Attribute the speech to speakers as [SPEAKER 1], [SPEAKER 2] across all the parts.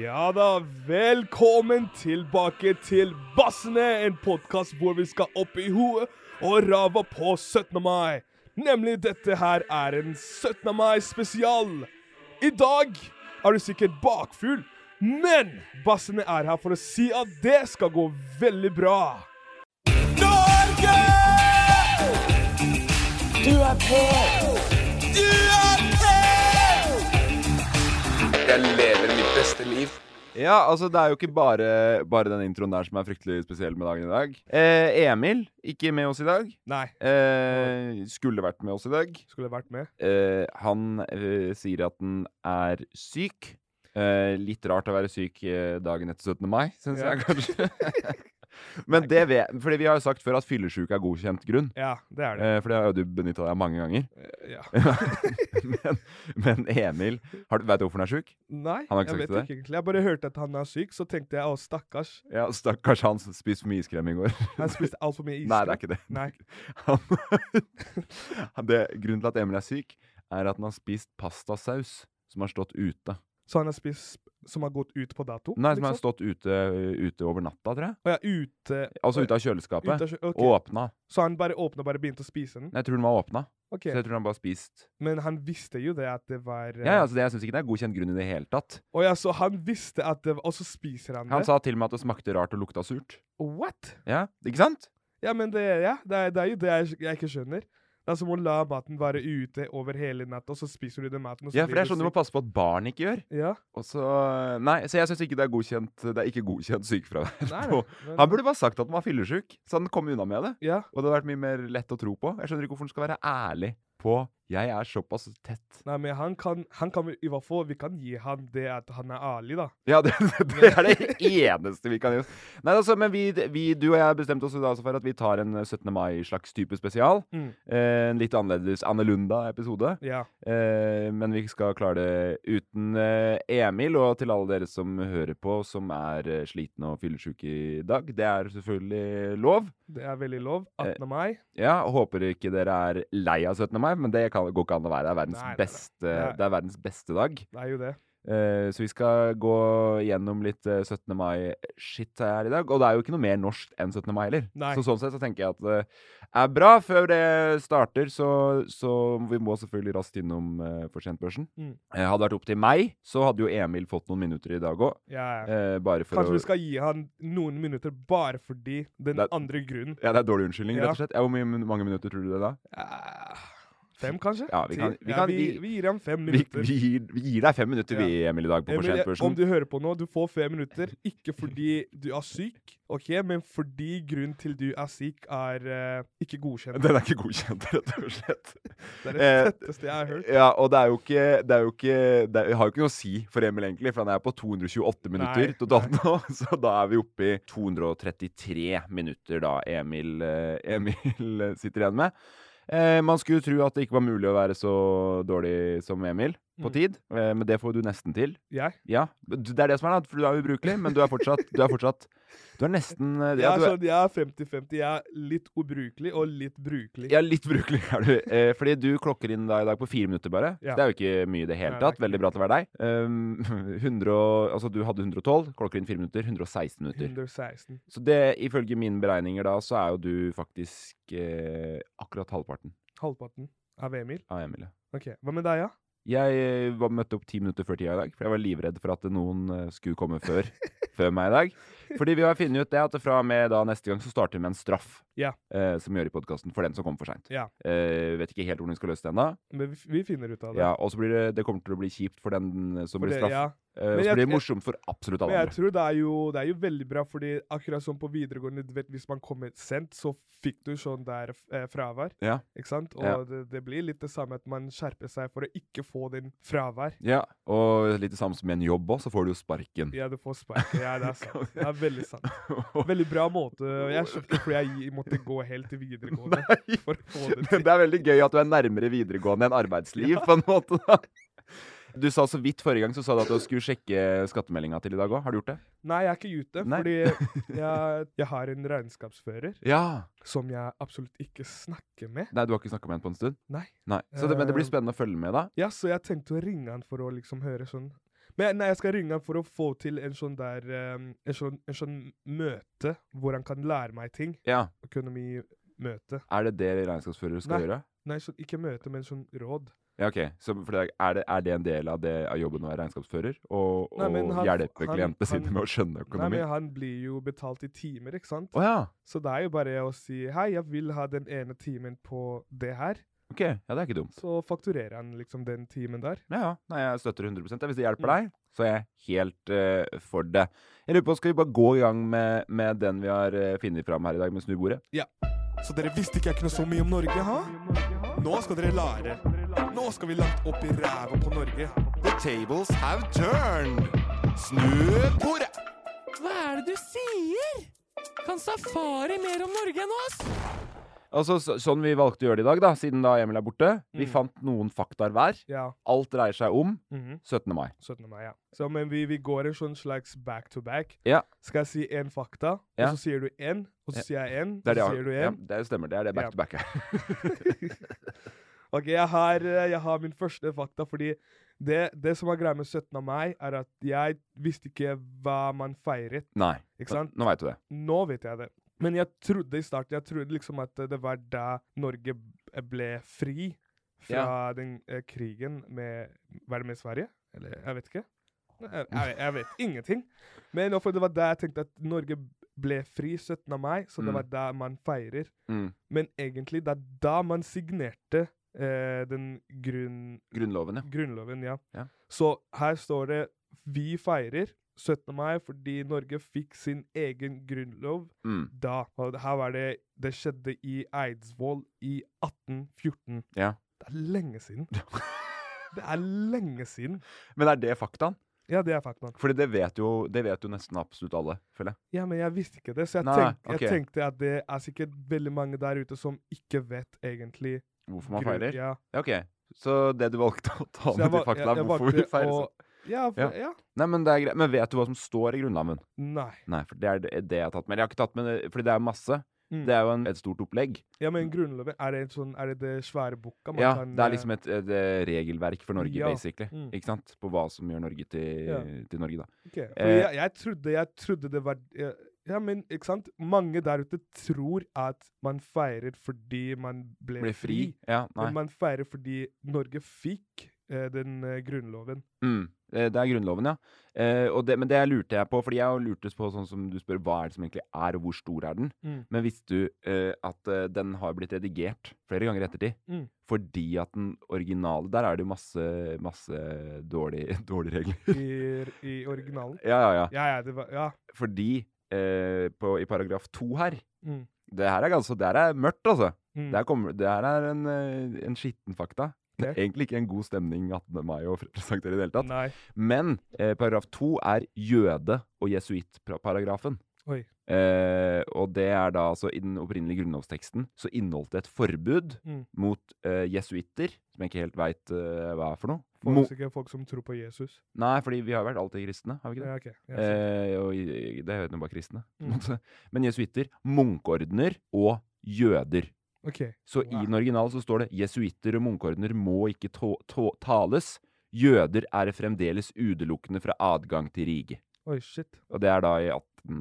[SPEAKER 1] Ja da, velkommen tilbake til Bassene, en podkast hvor vi skal opp i hoet og rava på 17. mai. Nemlig dette her er en 17. mai spesial. I dag er du sikkert bakfull, men Bassene er her for å si at det skal gå veldig bra.
[SPEAKER 2] Norge! Du er på! Du er på!
[SPEAKER 3] Jeg lever mitt beste liv.
[SPEAKER 4] Ja, altså det er jo ikke bare, bare den introen der som er fryktelig spesiell med dagen i dag. Eh, Emil, ikke med oss i dag.
[SPEAKER 1] Nei,
[SPEAKER 4] Eh, skulle vært med oss i dag.
[SPEAKER 1] skulle vært med.
[SPEAKER 4] Eh, han eh, sier at han er syk. Eh, litt rart å være syk eh, dagen etter 17. mai, syns
[SPEAKER 1] Ja.
[SPEAKER 4] jeg kanskje. Men det vet Fordi vi har jo sagt før at fyllesyke er godkjent grunn.
[SPEAKER 1] Ja, det er det.
[SPEAKER 4] Eh, for det har jo du benytta deg av mange ganger.
[SPEAKER 1] Ja.
[SPEAKER 4] men, men Emil, har du- vet du hvorfor han er sjuk?
[SPEAKER 1] Nei,
[SPEAKER 4] Han har
[SPEAKER 1] jeg vet
[SPEAKER 4] ikke sagt det?
[SPEAKER 1] ikke egentlig. Jeg bare hørte at han er syk, så tenkte jeg å, stakkars.
[SPEAKER 4] Ja, stakkars han som spiste for mye iskrem i går.
[SPEAKER 1] Han spiste altfor mye is.
[SPEAKER 4] Nei, det er ikke det.
[SPEAKER 1] Nei.
[SPEAKER 4] Han, han- det, grunnen til at Emil er syk, er at han har spist pastasaus som har stått ute.
[SPEAKER 1] Så han har spist som har gått ut på dato?
[SPEAKER 4] Nei, som har
[SPEAKER 1] liksom?
[SPEAKER 4] stått ute, ute over natta, tror jeg.
[SPEAKER 1] Å ja, ute
[SPEAKER 4] Altså ute av
[SPEAKER 1] Ut av
[SPEAKER 4] kjøleskapet.
[SPEAKER 1] kjø- ok.
[SPEAKER 4] Og åpna.
[SPEAKER 1] Så han bare åpna og bare begynte å spise den?
[SPEAKER 4] Nei, Jeg tror den var åpna.
[SPEAKER 1] Ok,
[SPEAKER 4] Så jeg tror han bare har spist.
[SPEAKER 1] Men han visste jo det at det var eh,
[SPEAKER 4] Ja, ja, altså det, Jeg syns ikke det er godkjent grunn i det hele tatt.
[SPEAKER 1] Å ja, så han visste at det var Og så spiser han det?
[SPEAKER 4] Han sa til og med at det smakte rart og lukta surt.
[SPEAKER 1] What?!
[SPEAKER 4] Ja, Ikke sant?
[SPEAKER 1] Ja, men det, ja, det, er, det er jo det jeg, jeg ikke skjønner. Det er som å la maten være ute over hele natta, og så spiser du den maten og så
[SPEAKER 4] Ja, for det er sånn du må passe på at barn ikke gjør.
[SPEAKER 1] Ja,
[SPEAKER 4] Og så, eh, nei, så jeg syns ikke det er godkjent Det er ikke godkjent sykefravær.
[SPEAKER 1] Nei,
[SPEAKER 4] på-
[SPEAKER 1] nei, nei.
[SPEAKER 4] Han burde bare sagt at han var fyllesyk, så han kom unna med det.
[SPEAKER 1] ja.
[SPEAKER 4] Og det hadde vært mye mer lett å tro på. Jeg skjønner ikke hvorfor han skal være ærlig på jeg er såpass tett.
[SPEAKER 1] Nei, men han kan, han kan i hvert fall Vi kan gi han det at han er ærlig, da.
[SPEAKER 4] Ja, det, det er det eneste vi kan gjøre. Nei, altså, men vi, vi, du og jeg bestemte oss i dag også for at vi tar en 17. mai-slags type spesial.
[SPEAKER 1] Mm.
[SPEAKER 4] Eh, En litt annerledes Annelunda-episode.
[SPEAKER 1] Ja.
[SPEAKER 4] Eh, men vi skal klare det uten eh, Emil, og til alle dere som hører på som er eh, slitne og fyllesyke i dag. Det er selvfølgelig lov.
[SPEAKER 1] Det er veldig lov.
[SPEAKER 4] Eh.
[SPEAKER 1] 18. mai.
[SPEAKER 4] Ja, og Håper ikke dere er lei av 17. mai, men det kan, går ikke an å være. Det er verdens,
[SPEAKER 1] Nei, nei, nei.
[SPEAKER 4] beste,
[SPEAKER 1] Det er-
[SPEAKER 4] Det er verdens beste dag.
[SPEAKER 1] Det er jo det.
[SPEAKER 4] Eh, så vi skal gå gjennom litt eh, 17. mai-shit her i dag. Og det er jo ikke noe mer norsk enn 17. mai heller.
[SPEAKER 1] Nei.
[SPEAKER 4] Så sånn sett så tenker jeg at det er bra. Før det starter, så, så vi må selvfølgelig raskt innom eh, Forsentbørsen.
[SPEAKER 1] Mm.
[SPEAKER 4] Eh, hadde det vært opp til meg, så hadde jo Emil fått noen minutter i dag òg.
[SPEAKER 1] Ja, ja.
[SPEAKER 4] Eh, bare for
[SPEAKER 1] Kanskje
[SPEAKER 4] å
[SPEAKER 1] vi skal gi han noen minutter bare fordi den
[SPEAKER 4] Det-
[SPEAKER 1] andre grunnen.
[SPEAKER 4] Ja, det er dårlig unnskyldning,
[SPEAKER 1] Ja.
[SPEAKER 4] rett og slett. Ja, hvor mye, mange minutter tror du det da?
[SPEAKER 1] Eh, Fem, kanskje?
[SPEAKER 4] Ah. Ja, vi kan-
[SPEAKER 1] Ti?
[SPEAKER 4] vi kan-
[SPEAKER 1] vi,
[SPEAKER 4] vi-
[SPEAKER 1] vi gir ham fem
[SPEAKER 4] Vi,
[SPEAKER 1] minutter.
[SPEAKER 4] vi, gir, vi gir deg fem minutter, vi, Emil, i dag på
[SPEAKER 1] Emil, jeg- om
[SPEAKER 4] Forsentbørsen.
[SPEAKER 1] du hører på nå, du får fem minutter. Ikke fordi du er syk, ok, men fordi grunnen til du er syk, er eh, ikke godkjent.
[SPEAKER 4] Den er ikke godkjent, rett og slett.
[SPEAKER 1] Det er det
[SPEAKER 4] eh,
[SPEAKER 1] tetteste jeg har hørt.
[SPEAKER 4] Ja, og det er jo ikke Det, er jo ikke, det er, har jo ikke noe å si for Emil, egentlig, for han er på 228 minutter
[SPEAKER 1] Nei,
[SPEAKER 4] totalt nå. Så da er vi oppe i 233 minutter da Emil, eh, Emil eh, sitter igjen med. Eh, man skulle jo tro at det ikke var mulig å være så dårlig som Emil på
[SPEAKER 1] Mm.
[SPEAKER 4] tid, eh, men det får du nesten til.
[SPEAKER 1] Jeg?
[SPEAKER 4] Ja, du- Det er det som er, da, for du er ubrukelig, men du er fortsatt Du er, fortsatt, du er nesten eh,
[SPEAKER 1] Jeg
[SPEAKER 4] ja,
[SPEAKER 1] er
[SPEAKER 4] du er,
[SPEAKER 1] sånn, jeg er 50-50. Jeg er litt ubrukelig og litt brukelig.
[SPEAKER 4] ja, litt brukelig er du. Eh, fordi du klokker inn da i dag på fire minutter bare.
[SPEAKER 1] Ja.
[SPEAKER 4] Det er jo ikke mye i det hele
[SPEAKER 1] Nei, det er
[SPEAKER 4] tatt.
[SPEAKER 1] ikke
[SPEAKER 4] Veldig bra til å være deg. Um, 100, og- altså, du hadde 112, klokker inn fire minutter. 116 minutter.
[SPEAKER 1] 116.
[SPEAKER 4] Så det, ifølge mine beregninger da, så er jo du faktisk eh, akkurat halvparten
[SPEAKER 1] Halvparten av Emil.
[SPEAKER 4] av Emil. ja.
[SPEAKER 1] Ok, Hva med deg, da?
[SPEAKER 4] Jeg eh, var, møtte opp ti minutter før tida i dag, for jeg var livredd for at noen eh, skulle komme før, før meg i dag. Fordi vi har funnet ut det at fra og med da neste gang så starter vi med en straff
[SPEAKER 1] Ja.
[SPEAKER 4] eh, som vi gjør i podkasten for den som kommer for seint.
[SPEAKER 1] Ja.
[SPEAKER 4] Eh, vet ikke helt hvordan vi skal løse det ennå.
[SPEAKER 1] Men vi, vi finner ut av det.
[SPEAKER 4] Ja, og så blir det, det kommer til å bli kjipt for den som
[SPEAKER 1] For
[SPEAKER 4] blir
[SPEAKER 1] det-
[SPEAKER 4] straff.
[SPEAKER 1] ja.
[SPEAKER 4] Eh, og
[SPEAKER 1] Men
[SPEAKER 4] så
[SPEAKER 1] jeg-
[SPEAKER 4] blir det morsomt for absolutt
[SPEAKER 1] Men
[SPEAKER 4] alle
[SPEAKER 1] jeg
[SPEAKER 4] andre.
[SPEAKER 1] tror det er, jo, det er jo veldig bra, fordi akkurat som på videregående, du vet, hvis man kommer sent, så fikk du sånn der eh, fravær,
[SPEAKER 4] Ja.
[SPEAKER 1] ikke sant? Og
[SPEAKER 4] Ja.
[SPEAKER 1] det, det blir litt det samme at man skjerper seg for å ikke få den fravær.
[SPEAKER 4] Ja, og litt det samme som i en jobb òg, så får du jo sparken.
[SPEAKER 1] Ja, du får sparket. Ja, det er sant. Det er veldig sant. Veldig bra måte. Jeg skjønte fordi jeg måtte gå helt til videregående for å få det
[SPEAKER 4] Men
[SPEAKER 1] til.
[SPEAKER 4] det er veldig gøy at du er nærmere videregående enn arbeidsliv, på en måte. da. Du sa så vidt forrige gang så sa du at du skulle sjekke skattemeldinga til i dag òg. Har du gjort det?
[SPEAKER 1] Nei, jeg er ikke ute,
[SPEAKER 4] Nei.
[SPEAKER 1] fordi jeg, jeg har en regnskapsfører
[SPEAKER 4] Ja.
[SPEAKER 1] som jeg absolutt ikke snakker med.
[SPEAKER 4] Nei, du har ikke snakka med henne på en stund?
[SPEAKER 1] Nei.
[SPEAKER 4] Nei. Så det, men det
[SPEAKER 1] Eh,
[SPEAKER 4] blir spennende å følge med, da.
[SPEAKER 1] Ja, så jeg tenkte å ringe han for å liksom høre sånn Men nei, jeg skal ringe han for å få til en sånn der ehm, En sånn, en sånn møte hvor han kan lære meg ting.
[SPEAKER 4] Ja.
[SPEAKER 1] Økonomimøte.
[SPEAKER 4] Er det det regnskapsførere skal
[SPEAKER 1] Nei.
[SPEAKER 4] gjøre?
[SPEAKER 1] Nei, sånn, ikke møte, men sånn råd.
[SPEAKER 4] Ja, ok. Så for det er, det, er det en del av, det, av jobben å være regnskapsfører? Og,
[SPEAKER 1] Nei, men
[SPEAKER 4] og
[SPEAKER 1] han-
[SPEAKER 4] hjelpe
[SPEAKER 1] han-
[SPEAKER 4] klientene sine
[SPEAKER 1] han-
[SPEAKER 4] med å skjønne
[SPEAKER 1] Nei,
[SPEAKER 4] økonomi?
[SPEAKER 1] men han blir jo betalt i timer, ikke sant?
[SPEAKER 4] Å ja.
[SPEAKER 1] Så det er jo bare å si 'hei, jeg vil ha den ene timen på det her',
[SPEAKER 4] Ok. Ja, det er ikke dumt.
[SPEAKER 1] så fakturerer han liksom den timen der.
[SPEAKER 4] Ja, ja. Nei, jeg støtter 100 Hvis det hjelper
[SPEAKER 1] Mm.
[SPEAKER 4] deg, så er jeg helt eh, for det. Jeg lurer på, Skal vi bare gå i gang med, med den vi har eh, funnet fram her i dag, med snubordet?
[SPEAKER 2] Så dere visste ikke jeg kunne så mye om Norge, ha? Nå skal dere lære. Nå skal vi langt opp i ræva på Norge. The tables have turned. Snu bordet.
[SPEAKER 5] Hva er det du sier? Kan safari mer om Norge enn oss?
[SPEAKER 4] Altså, så, Sånn vi valgte å gjøre det i dag, da, siden da Emil er borte. Vi
[SPEAKER 1] Mm.
[SPEAKER 4] fant noen faktaer hver.
[SPEAKER 1] Ja.
[SPEAKER 4] Alt dreier seg om
[SPEAKER 1] mhm.
[SPEAKER 4] 17. mai.
[SPEAKER 1] 17. mai, ja. Så, men vi, vi går en sånn slags back to back.
[SPEAKER 4] Ja.
[SPEAKER 1] Skal jeg si én fakta,
[SPEAKER 4] Ja.
[SPEAKER 1] og så sier du én, og
[SPEAKER 4] Ja.
[SPEAKER 1] så sier jeg én, og
[SPEAKER 4] Det, er
[SPEAKER 1] så
[SPEAKER 4] det,
[SPEAKER 1] sier du
[SPEAKER 4] ja,
[SPEAKER 1] én?
[SPEAKER 4] det stemmer. Det er det
[SPEAKER 1] Ja.
[SPEAKER 4] back to back her.
[SPEAKER 1] Ok, jeg har, eh, jeg har min første fakta, fordi det, det som er greia med 17. mai, er at jeg visste ikke hva man feiret,
[SPEAKER 4] Nei.
[SPEAKER 1] ikke sant?
[SPEAKER 4] Nå, nå veit du det.
[SPEAKER 1] Nå vet jeg det. Men jeg trodde i starten jeg trodde liksom at det var da Norge b- ble fri fra den eh, krigen med Var det med Sverige? Eller jeg vet ikke. Nei, Jeg, jeg, jeg vet ingenting. Men nå, for det var da jeg tenkte at Norge ble fri 17. mai, så det
[SPEAKER 4] Mm.
[SPEAKER 1] var da man feirer.
[SPEAKER 4] Mm.
[SPEAKER 1] Men egentlig det er da man signerte eh, den grunn,
[SPEAKER 4] Grunnloven, ja.
[SPEAKER 1] Grunnloven, ja.
[SPEAKER 4] Ja.
[SPEAKER 1] Så her står det vi feirer 17. mai fordi Norge fikk sin egen grunnlov
[SPEAKER 4] Mm.
[SPEAKER 1] da. Og her var det Det skjedde i Eidsvoll i 1814.
[SPEAKER 4] Ja.
[SPEAKER 1] Det er lenge siden. Det er lenge siden.
[SPEAKER 4] Men er det faktaen?
[SPEAKER 1] Ja, det er fakta.
[SPEAKER 4] Fordi det vet jo, det vet jo nesten absolutt alle, føler jeg.
[SPEAKER 1] Ja, men jeg visste ikke det, så jeg,
[SPEAKER 4] Nei,
[SPEAKER 1] tenk,
[SPEAKER 4] ok.
[SPEAKER 1] jeg tenkte at det er sikkert veldig mange der ute som ikke vet egentlig
[SPEAKER 4] Hvorfor man
[SPEAKER 1] grunn-
[SPEAKER 4] feirer.
[SPEAKER 1] Ja.
[SPEAKER 4] Ja, ok. Så det du valgte å
[SPEAKER 1] Så
[SPEAKER 4] ta med
[SPEAKER 1] jeg
[SPEAKER 4] til
[SPEAKER 1] val-
[SPEAKER 4] fakta, er
[SPEAKER 1] jeg- jeg
[SPEAKER 4] hvorfor vi
[SPEAKER 1] valgte
[SPEAKER 4] feirer
[SPEAKER 1] å-
[SPEAKER 4] sånn?
[SPEAKER 1] Ja, for, ja.
[SPEAKER 4] Nei, men det er greit. Men vet du hva som står i Grunnloven?
[SPEAKER 1] Nei.
[SPEAKER 4] Nei, for det er det det jeg har tatt med. Jeg har ikke tatt med det, fordi det er masse.
[SPEAKER 1] Mm.
[SPEAKER 4] Det er jo en, et stort opplegg.
[SPEAKER 1] Ja, men Grunnloven, er det, en sånn, er det det svære boka?
[SPEAKER 4] Ja, det er liksom et, et eh, regelverk for Norge,
[SPEAKER 1] Ja.
[SPEAKER 4] basically.
[SPEAKER 1] Mm.
[SPEAKER 4] Ikke sant? På hva som gjør Norge til,
[SPEAKER 1] Ja.
[SPEAKER 4] til Norge, da. eh,
[SPEAKER 1] jeg, jeg, trodde, jeg trodde det var ja, ja, men ikke sant? Mange der ute tror at man feirer fordi man ble,
[SPEAKER 4] Ble fri? Ja, nei.
[SPEAKER 1] Men man feirer fordi Norge fikk eh, den eh, grunnloven.
[SPEAKER 4] Mm. eh, Det er Grunnloven, ja. Eh, og det, men det lurte jeg på, fordi jeg lurtes på sånn som du spør, hva er det som egentlig er, og hvor stor er den?
[SPEAKER 1] Mm.
[SPEAKER 4] Men visste du eh, at eh, den har blitt redigert flere ganger i ettertid?
[SPEAKER 1] Mm.
[SPEAKER 4] Fordi at den originale Der er det jo masse, masse dårlige, dårlige regler.
[SPEAKER 1] I, i originalen.
[SPEAKER 4] ja, ja, ja.
[SPEAKER 1] Ja, ja, det var Ja.
[SPEAKER 4] Fordi eh, på, i paragraf to her
[SPEAKER 1] Mm.
[SPEAKER 4] Det her er, ganske, det her er mørkt, altså.
[SPEAKER 1] Mm.
[SPEAKER 4] Det her, kommer, det her er en, eh, en skitten fakta. Det er egentlig ikke en god stemning 18. mai å presentere i det hele tatt.
[SPEAKER 1] Nei.
[SPEAKER 4] Men eh, paragraf to er jøde- og jesuittparagrafen.
[SPEAKER 1] Oi.
[SPEAKER 4] Eh, og det er da altså I den opprinnelige grunnlovsteksten så inneholdt det et forbud
[SPEAKER 1] Mm.
[SPEAKER 4] mot eh, jesuitter, som jeg ikke helt veit eh, hva er for noe. Mo
[SPEAKER 1] Folk, sikkert folk som tror på Jesus.
[SPEAKER 4] Nei, fordi vi har vært alltid kristne, har vi ikke det?
[SPEAKER 1] Ja, ok. Ja, sant.
[SPEAKER 4] Eh, og i- det heter jo bare kristne. på en
[SPEAKER 1] Mm.
[SPEAKER 4] måte. Men jesuitter, munkeordener og jøder.
[SPEAKER 1] ok.
[SPEAKER 4] Så i den originale så står det jesuitter og munkeordener må ikke tå tå tales. Jøder er fremdeles utelukkende fra adgang til riket.
[SPEAKER 1] Oi, shit.
[SPEAKER 4] Og det er da i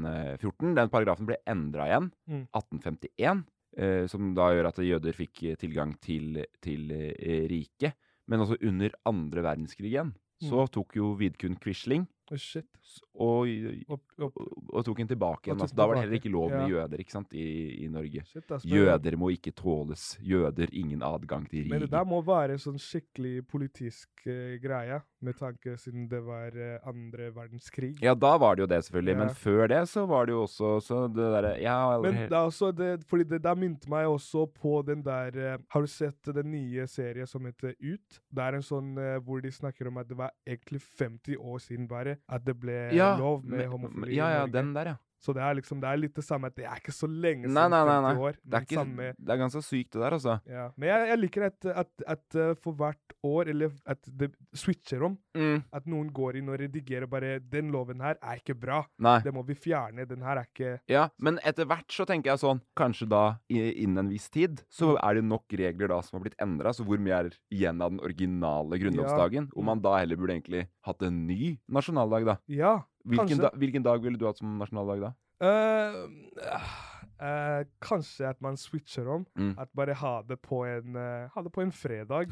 [SPEAKER 4] 1814. Den paragrafen ble endra igjen.
[SPEAKER 1] Mm.
[SPEAKER 4] 1851. Eh, som da gjør at jøder fikk eh, tilgang til, til eh, riket. Men også under andre verdenskrig igjen. Så
[SPEAKER 1] Mm.
[SPEAKER 4] tok jo Vidkun Quisling
[SPEAKER 1] Oi, shit.
[SPEAKER 4] s- og
[SPEAKER 1] Opp, opp.
[SPEAKER 4] og og tok den
[SPEAKER 1] Og
[SPEAKER 4] tilbake igjen.
[SPEAKER 1] tok
[SPEAKER 4] Altså, da var
[SPEAKER 1] tilbake.
[SPEAKER 4] det heller ikke lov med
[SPEAKER 1] Ja.
[SPEAKER 4] jøder ikke sant, i, i Norge.
[SPEAKER 1] Shit, ass, men-
[SPEAKER 4] Jøder må ikke tåles. Jøder ingen adgang til
[SPEAKER 1] Men det
[SPEAKER 4] riket.
[SPEAKER 1] der må være en sånn skikkelig politisk eh, greie, med tanke siden det var eh, andre verdenskrig.
[SPEAKER 4] Ja, da var det jo det, selvfølgelig.
[SPEAKER 1] Ja.
[SPEAKER 4] Men før det så var det jo også så det derre Jeg har aldri
[SPEAKER 1] Men det er også det, fordi det der minte meg også på den der eh, Har du sett den nye serien som heter Ut? Det er en sånn eh, hvor de snakker om at det var egentlig 50 år siden bare at det ble
[SPEAKER 4] Ja,
[SPEAKER 1] lov med
[SPEAKER 4] men-
[SPEAKER 1] homofili. i
[SPEAKER 4] Ja, ja,
[SPEAKER 1] Norge.
[SPEAKER 4] den der, ja.
[SPEAKER 1] Så det er liksom det er litt det samme at det er ikke så lenge
[SPEAKER 4] Nei,
[SPEAKER 1] siden
[SPEAKER 4] nei, nei.
[SPEAKER 1] 50
[SPEAKER 4] nei.
[SPEAKER 1] år.
[SPEAKER 4] Det, er
[SPEAKER 1] men
[SPEAKER 4] ikke,
[SPEAKER 1] samme,
[SPEAKER 4] det er ganske sykt, det der, altså.
[SPEAKER 1] ja. Men jeg, jeg liker at, at, at eh, for hvert år, eller at det switcher om,
[SPEAKER 4] Mm.
[SPEAKER 1] at noen går inn og redigerer bare 'Den loven her er ikke bra.
[SPEAKER 4] Nei.
[SPEAKER 1] Det må vi fjerne. Den her er ikke
[SPEAKER 4] Ja, men etter hvert så tenker jeg sånn Kanskje da i- innen en viss tid så
[SPEAKER 1] Mm.
[SPEAKER 4] er det nok regler da som har blitt endra, så hvor mye er igjen av den originale grunnlovsdagen?
[SPEAKER 1] Mm.
[SPEAKER 4] Om man da heller burde egentlig hatt en ny nasjonaldag, da?
[SPEAKER 1] Ja,
[SPEAKER 4] Hvilken,
[SPEAKER 1] kanskje.
[SPEAKER 4] da, hvilken dag ville du hatt som nasjonaldag da?
[SPEAKER 1] Eh, eh, kanskje at man switcher om.
[SPEAKER 4] Mm.
[SPEAKER 1] At bare ha det på en, eh, ha det på en fredag.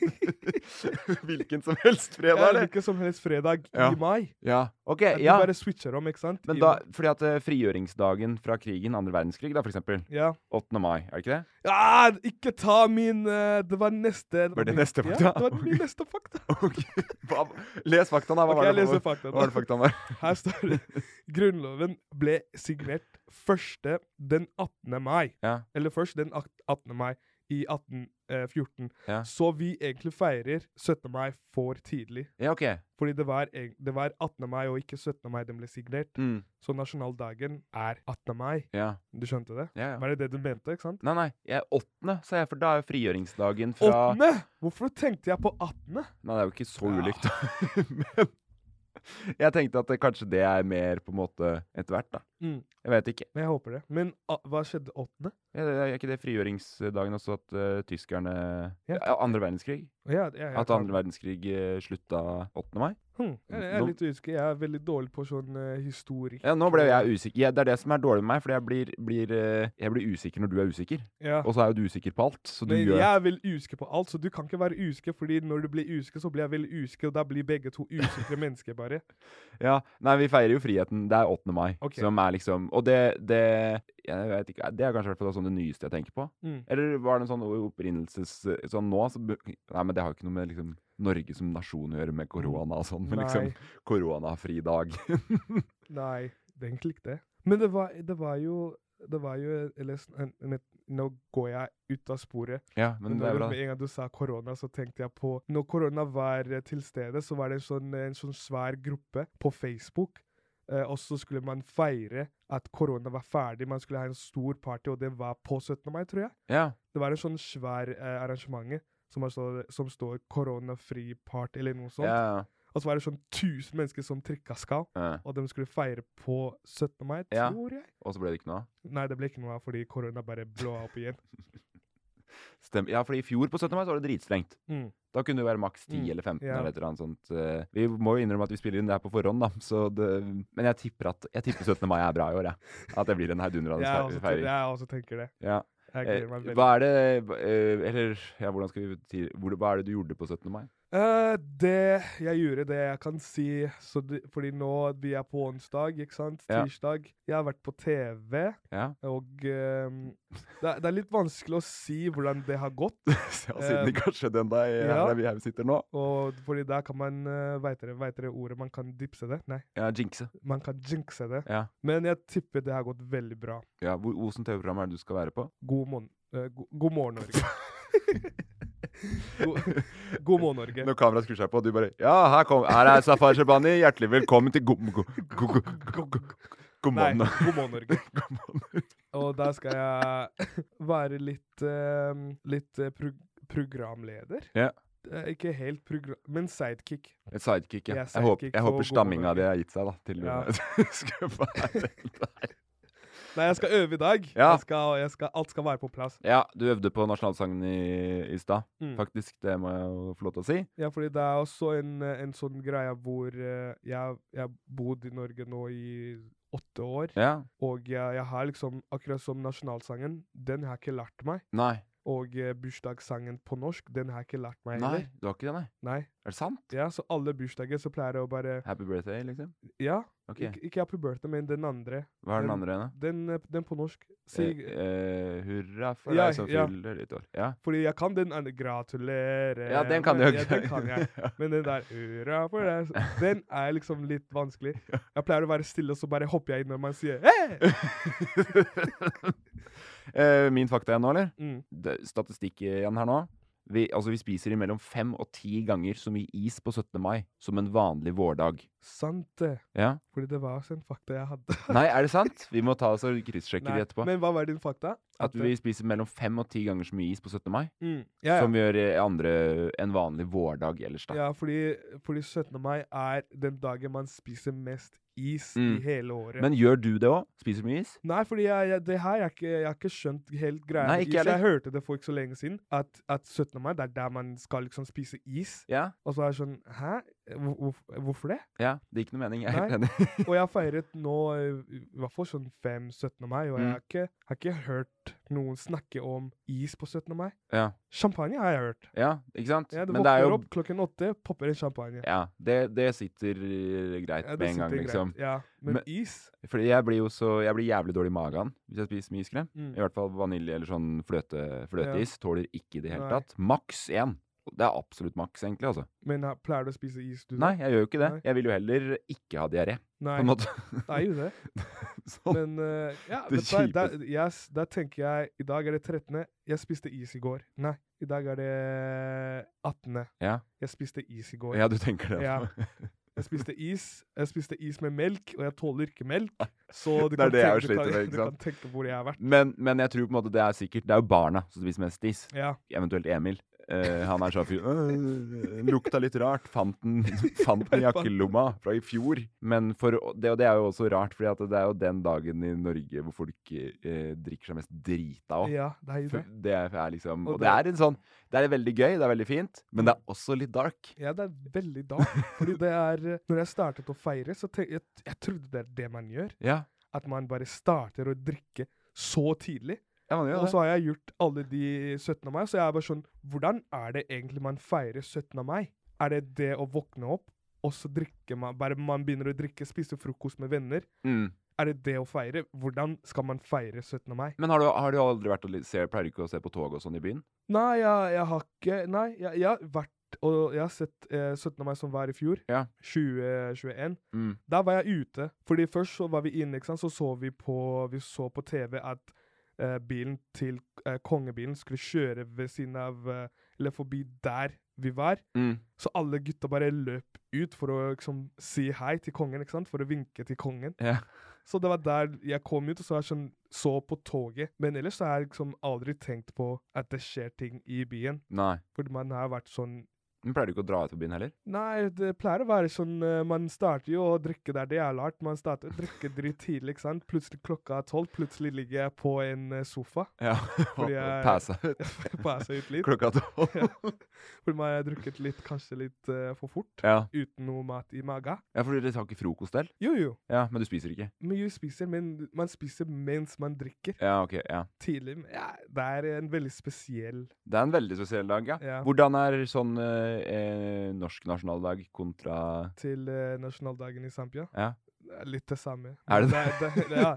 [SPEAKER 4] hvilken som helst
[SPEAKER 1] Ja,
[SPEAKER 4] fredag, eller?
[SPEAKER 1] Eh, Hvilken som helst fredag
[SPEAKER 4] Ja.
[SPEAKER 1] i mai.
[SPEAKER 4] Ja. Ok,
[SPEAKER 1] At
[SPEAKER 4] ja.
[SPEAKER 1] du bare switcher om, ikke sant?
[SPEAKER 4] Men
[SPEAKER 1] I-
[SPEAKER 4] da, fordi at eh, frigjøringsdagen fra krigen, andre verdenskrig, da, for eksempel.
[SPEAKER 1] ja.
[SPEAKER 4] 8. mai, er det ikke det?
[SPEAKER 1] ja, ikke ta min eh, Det var neste
[SPEAKER 4] Var det
[SPEAKER 1] min-
[SPEAKER 4] neste fakta?
[SPEAKER 1] Ja, det var min neste fakta.
[SPEAKER 4] Ok, hva, Les fakta, da. Hva
[SPEAKER 1] Ok,
[SPEAKER 4] var
[SPEAKER 1] jeg
[SPEAKER 4] det
[SPEAKER 1] leser
[SPEAKER 4] for-
[SPEAKER 1] fakta.
[SPEAKER 4] Hva var det
[SPEAKER 1] da.
[SPEAKER 4] faktaen var?
[SPEAKER 1] Her står det Grunnloven ble signert første den 18. mai.
[SPEAKER 4] Ja.
[SPEAKER 1] Eller først den ak- 18. mai i 1814.
[SPEAKER 4] Ja.
[SPEAKER 1] Så vi egentlig feirer 17. mai for tidlig.
[SPEAKER 4] Ja, ok.
[SPEAKER 1] Fordi det var, eg- det var 18. mai og ikke 17. mai den ble signert.
[SPEAKER 4] Mm.
[SPEAKER 1] Så nasjonaldagen er 18. mai.
[SPEAKER 4] Ja.
[SPEAKER 1] Du skjønte det?
[SPEAKER 4] ja, ja.
[SPEAKER 1] Var det det du mente, ikke sant?
[SPEAKER 4] Nei, nei. Jeg, 8., sa jeg, for da er jo frigjøringsdagen fra
[SPEAKER 1] 8. Hvorfor tenkte jeg på 18.?
[SPEAKER 4] Nei, det er jo ikke så ulikt, da. Men jeg tenkte at det, kanskje det er mer på en måte etter hvert, da.
[SPEAKER 1] Mm.
[SPEAKER 4] Jeg vet ikke.
[SPEAKER 1] Men jeg håper det. Men a hva skjedde 8.?
[SPEAKER 4] Ja, det er ikke det frigjøringsdagen også at eh, tyskerne
[SPEAKER 1] Ja.
[SPEAKER 4] ja, Andre verdenskrig.
[SPEAKER 1] Ja, ja, ja,
[SPEAKER 4] At andre verdenskrig eh, slutta 8. mai.
[SPEAKER 1] Hmm. Jeg, jeg er
[SPEAKER 4] Nå-
[SPEAKER 1] litt usikker. Jeg er veldig dårlig på sånn eh, historikk.
[SPEAKER 4] Ja, nå ble jeg usikker. Ja, det er det som er dårlig med meg, for jeg blir, blir, eh, jeg blir usikker når du er usikker.
[SPEAKER 1] Ja.
[SPEAKER 4] Og så er jo du usikker på alt, så du
[SPEAKER 1] Men
[SPEAKER 4] gjør
[SPEAKER 1] jeg er veldig usikker på alt, så du kan ikke være usikker, fordi når du blir usikker, så blir jeg veldig usikker, og da blir begge to usikre mennesker, bare.
[SPEAKER 4] Ja, Nei, vi feirer jo friheten. Det er 8. mai,
[SPEAKER 1] Ok.
[SPEAKER 4] som er liksom Og det, det Jeg vet ikke Det er kanskje i hvert fall sånn det nyeste jeg tenker på.
[SPEAKER 1] Mm.
[SPEAKER 4] Eller var det en sånn opprinnelses... Sånn nå så, bu- Nei, men det har jo ikke noe med liksom Norge som nasjon å gjøre med korona og sånn, men liksom
[SPEAKER 1] Nei.
[SPEAKER 4] koronafridag.
[SPEAKER 1] Nei, det er egentlig ikke det. Men det var, det var jo det var jo eller, s- en- en- et- Nå går jeg ut av sporet.
[SPEAKER 4] ja, men,
[SPEAKER 1] Men
[SPEAKER 4] det er
[SPEAKER 1] når,
[SPEAKER 4] bra.
[SPEAKER 1] med en gang du sa korona, så tenkte jeg på Når korona var eh, til stede, så var det en sånn, en sånn svær gruppe på Facebook. Eh, og så skulle man feire at korona var ferdig. Man skulle ha en stor party, og det var på 17. mai, tror jeg.
[SPEAKER 4] Ja.
[SPEAKER 1] Det var en sånn svær eh, arrangement som, er så, som står 'koronafri party' eller noe sånt.
[SPEAKER 4] ja.
[SPEAKER 1] Og så var det sånn 1000 mennesker som trykka skal,
[SPEAKER 4] ja.
[SPEAKER 1] og de skulle feire på 17. mai,
[SPEAKER 4] Ja.
[SPEAKER 1] tror jeg.
[SPEAKER 4] Og så ble det ikke noe av.
[SPEAKER 1] Nei, det ble ikke noe av fordi korona bare blåa opp igjen.
[SPEAKER 4] Stem. Ja, fordi i fjor på 17. mai så var det dritstrengt.
[SPEAKER 1] Mm.
[SPEAKER 4] Da kunne det være maks 10
[SPEAKER 1] Mm,
[SPEAKER 4] eller 15
[SPEAKER 1] ja.
[SPEAKER 4] eller et eller annet sånt. Eh, Vi må jo innrømme at vi spiller inn det her på forhånd, da. Så det, men jeg tipper at jeg tipper 17. mai er bra i år, jeg. At det blir en
[SPEAKER 1] Jeg
[SPEAKER 4] heidundrende fe-
[SPEAKER 1] også, tenker,
[SPEAKER 4] feiring.
[SPEAKER 1] jeg også tenker altså, det.
[SPEAKER 4] Ja.
[SPEAKER 1] Jeg
[SPEAKER 4] Eh,
[SPEAKER 1] gleder meg veldig.
[SPEAKER 4] Hva er det eh, Eller ja, hvordan skal vi si hvor- Hva er det du gjorde på 17. mai?
[SPEAKER 1] Eh, det jeg gjorde, det jeg kan si så det, Fordi nå vi er på onsdag, ikke sant?
[SPEAKER 4] Ja.
[SPEAKER 1] Tirsdag. Jeg har vært på TV,
[SPEAKER 4] Ja.
[SPEAKER 1] og ehm, det, er- det er litt vanskelig å si hvordan det har gått.
[SPEAKER 4] Ja, siden det ikke har skjedd ennå, i-
[SPEAKER 1] Eh, ja.
[SPEAKER 4] her er vi her vi sitter nå.
[SPEAKER 1] Og fordi der kan man uh, Veit dere vet dere ordet man kan dipse det? Nei,
[SPEAKER 4] Ja, jinxe.
[SPEAKER 1] man kan jinxe det.
[SPEAKER 4] Ja.
[SPEAKER 1] Men jeg tipper det har gått veldig bra.
[SPEAKER 4] ja hvor, Åsen TV-program er det du skal være på?
[SPEAKER 1] God, mon eh, go god morgen, Norge. god, god morgen, Norge.
[SPEAKER 4] Når kameraet skrur seg på, og du bare Ja, her, kom, her er Safar Shabani. Hjertelig velkommen til go- go- go- go- go- God
[SPEAKER 1] Nei,
[SPEAKER 4] morgen.
[SPEAKER 1] god morgen, Norge.
[SPEAKER 4] God morgen.
[SPEAKER 1] Og der skal jeg være litt, eh, litt eh, prog programleder.
[SPEAKER 4] Ja.
[SPEAKER 1] Eh, Ikke helt program... Men sidekick.
[SPEAKER 4] Et sidekick, ja.
[SPEAKER 1] Jeg er
[SPEAKER 4] Jeg, håper-
[SPEAKER 1] sidekick
[SPEAKER 4] jeg
[SPEAKER 1] på
[SPEAKER 4] håper
[SPEAKER 1] God
[SPEAKER 4] stamminga
[SPEAKER 1] morgen,
[SPEAKER 4] di har gitt seg, da. Til
[SPEAKER 1] Ja.
[SPEAKER 4] du skal være der.
[SPEAKER 1] Nei, jeg skal øve i dag.
[SPEAKER 4] Ja.
[SPEAKER 1] Jeg skal, jeg skal, alt skal være på plass.
[SPEAKER 4] Ja, du øvde på nasjonalsangen i, i stad,
[SPEAKER 1] Mm.
[SPEAKER 4] faktisk. Det må jeg jo få lov til å si.
[SPEAKER 1] Ja, fordi det er også en, eh, en sånn greie hvor eh, jeg jeg har bodd i Norge nå i åtte år,
[SPEAKER 4] Ja.
[SPEAKER 1] og jeg, jeg har liksom, akkurat som nasjonalsangen, den har jeg ikke lært meg.
[SPEAKER 4] Nei.
[SPEAKER 1] Og eh, bursdagssangen på norsk, den har jeg ikke lært meg
[SPEAKER 4] Nei,
[SPEAKER 1] heller.
[SPEAKER 4] du har ikke det, nei?
[SPEAKER 1] Nei.
[SPEAKER 4] Er det sant?
[SPEAKER 1] Ja, så alle bursdager så pleier jeg å bare
[SPEAKER 4] Happy birthday, liksom?
[SPEAKER 1] Ja,
[SPEAKER 4] Ok.
[SPEAKER 1] ikke, ikke Happy Birthday, men den andre.
[SPEAKER 4] Hva er den andre ene?
[SPEAKER 1] Den, eh, den på norsk. Si,
[SPEAKER 4] Eh, eh, hurra for
[SPEAKER 1] Ja,
[SPEAKER 4] deg som
[SPEAKER 1] ja.
[SPEAKER 4] fyller ditt år. Ja.
[SPEAKER 1] fordi jeg kan den andre. Gratulerer.
[SPEAKER 4] ja, den kan du jo
[SPEAKER 1] Ja,
[SPEAKER 4] ikke.
[SPEAKER 1] den kan jeg. Men den der «Hurra for deg», så- Den er liksom litt vanskelig. Jeg pleier å være stille, og så bare hopper jeg inn når man sier hey!
[SPEAKER 4] Eh, Min fakta igjen nå, eller?
[SPEAKER 1] mm.
[SPEAKER 4] Det- Statistikk igjen her nå. Vi, altså, vi spiser imellom fem og ti ganger så mye is på 17. mai som en vanlig vårdag.
[SPEAKER 1] Sant det.
[SPEAKER 4] Ja.
[SPEAKER 1] Fordi det var også en fakta jeg hadde.
[SPEAKER 4] Nei, er det sant? Vi må ta oss og kryssjekke
[SPEAKER 1] Nei,
[SPEAKER 4] det etterpå.
[SPEAKER 1] Men hva var din fakta?
[SPEAKER 4] At vi spiser mellom fem og ti ganger så mye is på 17. mai
[SPEAKER 1] mm, ja, ja.
[SPEAKER 4] som vi gjør i andre en vanlig vårdag ellers, da.
[SPEAKER 1] ja, fordi, fordi 17. mai er den dagen man spiser mest is
[SPEAKER 4] Mm.
[SPEAKER 1] i hele året.
[SPEAKER 4] Men gjør du det òg? Spiser mye is?
[SPEAKER 1] Nei, fordi jeg, jeg, det her, jeg, har ikke- jeg har ikke skjønt helt greia.
[SPEAKER 4] Nei,
[SPEAKER 1] med
[SPEAKER 4] ikke
[SPEAKER 1] is. jeg
[SPEAKER 4] heller.
[SPEAKER 1] hørte det for ikke så lenge siden, at, at 17. mai, det er der man skal liksom spise is.
[SPEAKER 4] Ja.
[SPEAKER 1] Og så er jeg sånn, hæ? Hvor, hvor, hvorfor det?
[SPEAKER 4] ja. Det er ikke noe mening. Jeg er
[SPEAKER 1] Nei.
[SPEAKER 4] helt enig.
[SPEAKER 1] Og jeg har feiret nå eh, i hvert fall sånn 5-17. mai, og jeg
[SPEAKER 4] Mm.
[SPEAKER 1] har ikke, har ikke hørt noen snakke om is på 17. mai.
[SPEAKER 4] ja.
[SPEAKER 1] Champagne har jeg hørt.
[SPEAKER 4] ja, ikke sant?
[SPEAKER 1] Ja, det
[SPEAKER 4] Men det er
[SPEAKER 1] våkner
[SPEAKER 4] jo
[SPEAKER 1] opp klokken åtte, popper en champagne.
[SPEAKER 4] Ja, det, det sitter eh, greit
[SPEAKER 1] Ja, det
[SPEAKER 4] med en gang,
[SPEAKER 1] sitter
[SPEAKER 4] liksom.
[SPEAKER 1] Greit. Ja, men,
[SPEAKER 4] Men-
[SPEAKER 1] is?
[SPEAKER 4] Fordi jeg blir jo så Jeg blir jævlig dårlig i magen hvis jeg spiser mye iskrem.
[SPEAKER 1] Mm.
[SPEAKER 4] I hvert fall vanilje eller sånn fløte, fløteis tåler ikke i det hele
[SPEAKER 1] Nei.
[SPEAKER 4] tatt. Maks én. Det er absolutt maks, egentlig, altså.
[SPEAKER 1] Men eh, pleier du å spise is, du? da?
[SPEAKER 4] Nei, jeg gjør jo ikke det.
[SPEAKER 1] Nei.
[SPEAKER 4] Jeg vil jo heller ikke ha diaré,
[SPEAKER 1] Nei,
[SPEAKER 4] på en måte.
[SPEAKER 1] det er jo det.
[SPEAKER 4] sånn.
[SPEAKER 1] Men eh, ja,
[SPEAKER 4] Det
[SPEAKER 1] vet du hva, der,
[SPEAKER 4] kjipeste.
[SPEAKER 1] yes, der tenker jeg I dag er det 13. Jeg spiste is i går. Nei, i dag er det 18.
[SPEAKER 4] Ja.
[SPEAKER 1] Jeg spiste is i går.
[SPEAKER 4] ja, du tenker det.
[SPEAKER 1] Ja.
[SPEAKER 4] altså.
[SPEAKER 1] Jeg spiste is. Jeg spiste is med melk, og jeg tåler ikke melk. Så du
[SPEAKER 4] Det er
[SPEAKER 1] kan
[SPEAKER 4] det jeg
[SPEAKER 1] tenke- du
[SPEAKER 4] sliter
[SPEAKER 1] kan,
[SPEAKER 4] med, ikke
[SPEAKER 1] du
[SPEAKER 4] sant?
[SPEAKER 1] kan tenke hvor jeg har vært.
[SPEAKER 4] Men, men jeg tror på en måte det er sikkert Det er jo barna som spiser mest is.
[SPEAKER 1] Ja.
[SPEAKER 4] Eventuelt Emil. Eh, han er sånn fyr «Øh, Lukta litt rart. Fant den, fant den i jakkelomma fra i fjor. Men for, å- det, og det er jo også rart, for det er jo den dagen i Norge hvor folk eh, drikker seg mest drita òg.
[SPEAKER 1] ja, det er jo det.
[SPEAKER 4] Det er liksom
[SPEAKER 1] Og
[SPEAKER 4] Og
[SPEAKER 1] det-
[SPEAKER 4] det er en sånn Det er veldig gøy, det er veldig fint, men det er også litt dark.
[SPEAKER 1] Ja, det er veldig dark. Fordi det er eh, Når jeg startet å feire, så tenkte jeg Jeg trodde det er det man gjør.
[SPEAKER 4] Ja,
[SPEAKER 1] At man bare starter å drikke så tidlig.
[SPEAKER 4] ja man gjør
[SPEAKER 1] Og
[SPEAKER 4] det.
[SPEAKER 1] så har jeg gjort alle de 17. mai, så jeg er bare sånn Hvordan er det egentlig man feirer 17. mai? Er det det å våkne opp, og så drikke man Bare man begynner å drikke, spise frokost med venner?
[SPEAKER 4] Mm.
[SPEAKER 1] Er det det å feire? Hvordan skal man feire 17. mai?
[SPEAKER 4] Men har du, har du aldri vært og li- ser, pleier du ikke å se på tog og sånn i byen?
[SPEAKER 1] Nei, jeg, jeg har ikke Nei, jeg, jeg har vært Og jeg har sett eh, 17. mai som var i fjor.
[SPEAKER 4] Ja.
[SPEAKER 1] 2021.
[SPEAKER 4] Mm.
[SPEAKER 1] Der var jeg ute. Fordi først så var vi inne, ikke sant. Så så vi på, vi så på TV at eh, bilen til eh, kongebilen skulle kjøre ved siden av eh, Eller forbi der vi var.
[SPEAKER 4] Mm.
[SPEAKER 1] Så alle gutta bare løp ut for å liksom si hei til kongen, ikke sant. For å vinke til kongen.
[SPEAKER 4] Ja.
[SPEAKER 1] Så det var der jeg kom ut, og så, er jeg sånn, så på toget. Men ellers så har jeg liksom aldri tenkt på at det skjer ting i byen.
[SPEAKER 4] Nei.
[SPEAKER 1] Fordi man har vært sånn
[SPEAKER 4] Men pleier du ikke å dra ut på byen heller?
[SPEAKER 1] Nei, det pleier å være sånn eh, Man starter jo å drikke der det er lært. Man starter å drikke dritt tidlig, ikke sant. Plutselig klokka er tolv, plutselig ligger jeg på en eh, sofa.
[SPEAKER 4] Ja.
[SPEAKER 1] Fordi jeg-
[SPEAKER 4] Passa ut
[SPEAKER 1] Passa ut litt.
[SPEAKER 4] klokka tolv.
[SPEAKER 1] Ja. Fordi man har drukket litt, kanskje litt eh, for fort.
[SPEAKER 4] Ja.
[SPEAKER 1] Uten noe mat i magen.
[SPEAKER 4] ja, for dere tar ikke frokost der?
[SPEAKER 1] Jo, jo.
[SPEAKER 4] Ja, men du spiser ikke?
[SPEAKER 1] Men jo spiser, men man spiser mens man drikker.
[SPEAKER 4] Ja, ok. ja.
[SPEAKER 1] Tidlig. men Ja, det er en veldig spesiell
[SPEAKER 4] Det er en veldig spesiell dag, ja.
[SPEAKER 1] Ja.
[SPEAKER 4] Hvordan er sånn eh, eh, norsk nasjonaldag kontra
[SPEAKER 1] til eh, nasjonaldagen i Zampia.
[SPEAKER 4] Ja.
[SPEAKER 1] Det er Litt det samme.
[SPEAKER 4] Er
[SPEAKER 1] Men
[SPEAKER 4] det
[SPEAKER 1] det? er- det er- ja.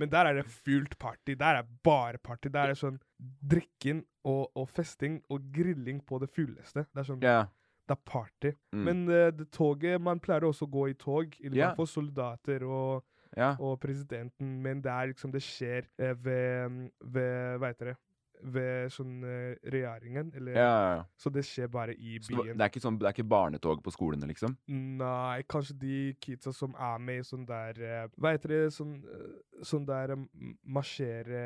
[SPEAKER 1] Men der er det fullt party. Der er bare party. Der er sånn drikking og, og festing og grilling på det fulleste. Det er sånn,
[SPEAKER 4] Ja.
[SPEAKER 1] det er party.
[SPEAKER 4] Mm.
[SPEAKER 1] Men eh, det toget Man pleier også å gå i tog, i
[SPEAKER 4] Ja.
[SPEAKER 1] hvert fall soldater og,
[SPEAKER 4] ja.
[SPEAKER 1] og presidenten, men det er liksom Det skjer eh, ved, ved Hva heter det? ved sånn eh, regjeringen. Eller,
[SPEAKER 4] Ja, ja, ja.
[SPEAKER 1] Så det skjer bare i
[SPEAKER 4] Så det,
[SPEAKER 1] byen.
[SPEAKER 4] det, er ikke sånn, det er ikke barnetog på skolene, liksom?
[SPEAKER 1] Nei, kanskje de kidsa som er med i sånn der eh, Hva heter det? Sånn, eh, sånn der eh, m- marsjere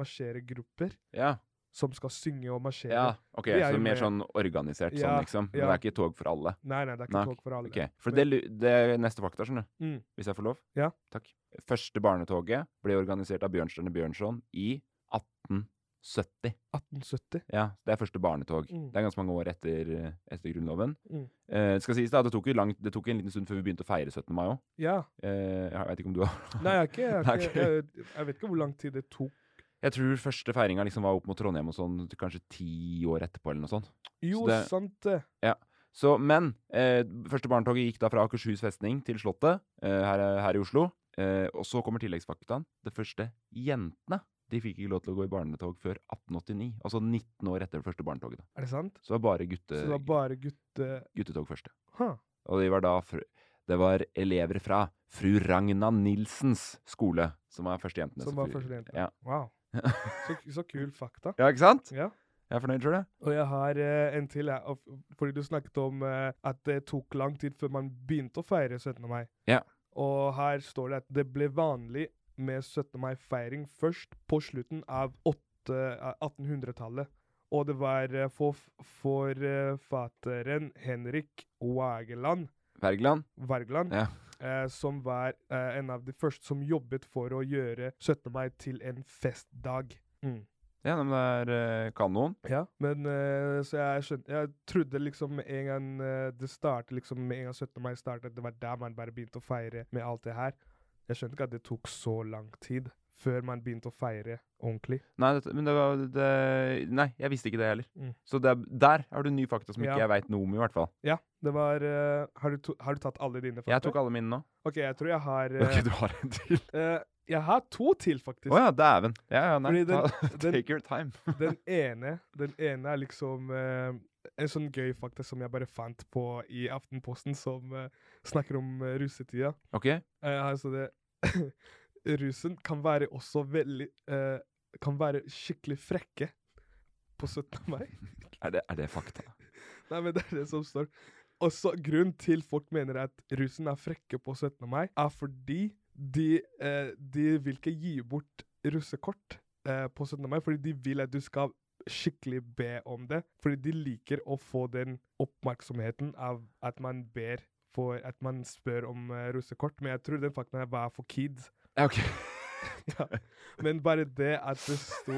[SPEAKER 1] marsjeregrupper
[SPEAKER 4] Ja.
[SPEAKER 1] som skal synge og marsjere.
[SPEAKER 4] ja. Ok,
[SPEAKER 1] De er
[SPEAKER 4] så
[SPEAKER 1] jo
[SPEAKER 4] mer
[SPEAKER 1] med.
[SPEAKER 4] sånn organisert sånn,
[SPEAKER 1] Ja,
[SPEAKER 4] liksom? Men
[SPEAKER 1] ja.
[SPEAKER 4] det er ikke tog for alle?
[SPEAKER 1] Nei, nei, det er ikke
[SPEAKER 4] Nei,
[SPEAKER 1] tog for alle.
[SPEAKER 4] Ok, For det, lu- det er neste fakta, skjønner du.
[SPEAKER 1] Mm.
[SPEAKER 4] Hvis jeg får lov?
[SPEAKER 1] Ja.
[SPEAKER 4] Takk. Første barnetoget ble organisert av Bjørnstjerne Bjørnson i 1870.
[SPEAKER 1] 1870.
[SPEAKER 4] Ja, det er første barnetog.
[SPEAKER 1] Mm.
[SPEAKER 4] Det er ganske mange år etter, eh, etter Grunnloven.
[SPEAKER 1] Mm.
[SPEAKER 4] Eh, det skal sies da, det tok, jo langt, det tok en liten stund før vi begynte å feire 17. mai òg.
[SPEAKER 1] Ja.
[SPEAKER 4] Eh, jeg vet ikke om du har
[SPEAKER 1] Nei, jeg, er ikke, jeg,
[SPEAKER 4] Nei,
[SPEAKER 1] er ikke, jeg, jeg vet ikke hvor lang tid det tok.
[SPEAKER 4] Jeg tror første feiringa liksom var opp mot Trondheim og sånn kanskje ti år etterpå eller noe sånt.
[SPEAKER 1] Jo,
[SPEAKER 4] det-
[SPEAKER 1] sant det.
[SPEAKER 4] Så, men eh, første barnetoget gikk da fra Akershus festning til Slottet eh, her, her i Oslo. Eh, og så kommer tilleggsfaktaen. Det første jentene de fikk ikke lov til å gå i barnetog før 1889. Altså 19 år etter det første barnetoget. da.
[SPEAKER 1] Er det sant?
[SPEAKER 4] Så det var bare gutte,
[SPEAKER 1] Så det var bare gutte...
[SPEAKER 4] guttetog første.
[SPEAKER 1] Huh.
[SPEAKER 4] Og de var da fr det var elever fra fru Ragna Nilsens skole som var førstejentene.
[SPEAKER 1] Som var førstejentene.
[SPEAKER 4] Ja.
[SPEAKER 1] Wow. Så, så kul fakta.
[SPEAKER 4] ja, ikke sant?
[SPEAKER 1] Ja.
[SPEAKER 4] Jeg er fornøyd, tror jeg.
[SPEAKER 1] Og jeg har eh, en til, jeg. og f- Fordi du snakket om eh, at det tok lang tid før man begynte å feire 17. mai.
[SPEAKER 4] Ja.
[SPEAKER 1] Og her står det at det ble vanlig med 17. mai-feiring først på slutten av åtte- eh, 1800-tallet. Og det var eh, forf- forfatteren eh, Henrik Wageland
[SPEAKER 4] Wergeland.
[SPEAKER 1] Wergeland,
[SPEAKER 4] Ja.
[SPEAKER 1] eh, som var eh, en av de første som jobbet for å gjøre 17. mai til en festdag. Mm.
[SPEAKER 4] Ja, nei, men det er eh, kanon.
[SPEAKER 1] Ja, men eh, så jeg skjønte Jeg trodde liksom med en gang eh, det startet, liksom med en gang 17. mai startet, det var der man bare begynte å feire med alt det her. Jeg skjønte ikke at det tok så lang tid før man begynte å feire ordentlig.
[SPEAKER 4] Nei, det, men det var det, Nei, jeg visste ikke det heller.
[SPEAKER 1] Mm.
[SPEAKER 4] Så det, er- der har du ny fakta som
[SPEAKER 1] Ja.
[SPEAKER 4] ikke jeg veit noe om, i hvert fall.
[SPEAKER 1] Ja, det var eh, har, du to, har du tatt alle dine fakta?
[SPEAKER 4] Jeg tok alle mine nå.
[SPEAKER 1] OK, jeg tror jeg har eh,
[SPEAKER 4] Ok, du har en til.
[SPEAKER 1] eh, Jeg har to til, faktisk.
[SPEAKER 4] Å ja, dæven. Ja, ja, nei.
[SPEAKER 1] Fordi den-
[SPEAKER 4] ta,
[SPEAKER 1] den-
[SPEAKER 4] take your time.
[SPEAKER 1] Den ene, den ene er liksom eh, en sånn gøy fakta som jeg bare fant på i Aftenposten, som eh, snakker om eh, russetida.
[SPEAKER 4] OK?
[SPEAKER 1] Eh, altså det Rusen kan være også veldig eh, Kan være skikkelig frekke på 17. mai.
[SPEAKER 4] Er det, er det fakta?
[SPEAKER 1] Nei, men det er det som står. Og så Grunnen til folk mener at rusen er frekke på 17. mai, er fordi de, eh, de vil ikke gi bort russekort eh, på 17. mai, fordi de vil at du skal skikkelig be om det. Fordi de liker å få den oppmerksomheten av at man ber for at man spør om eh, russekort. Men jeg tror den fakten her var for kids.
[SPEAKER 4] Ja, OK.
[SPEAKER 1] Ja. Men bare det at det sto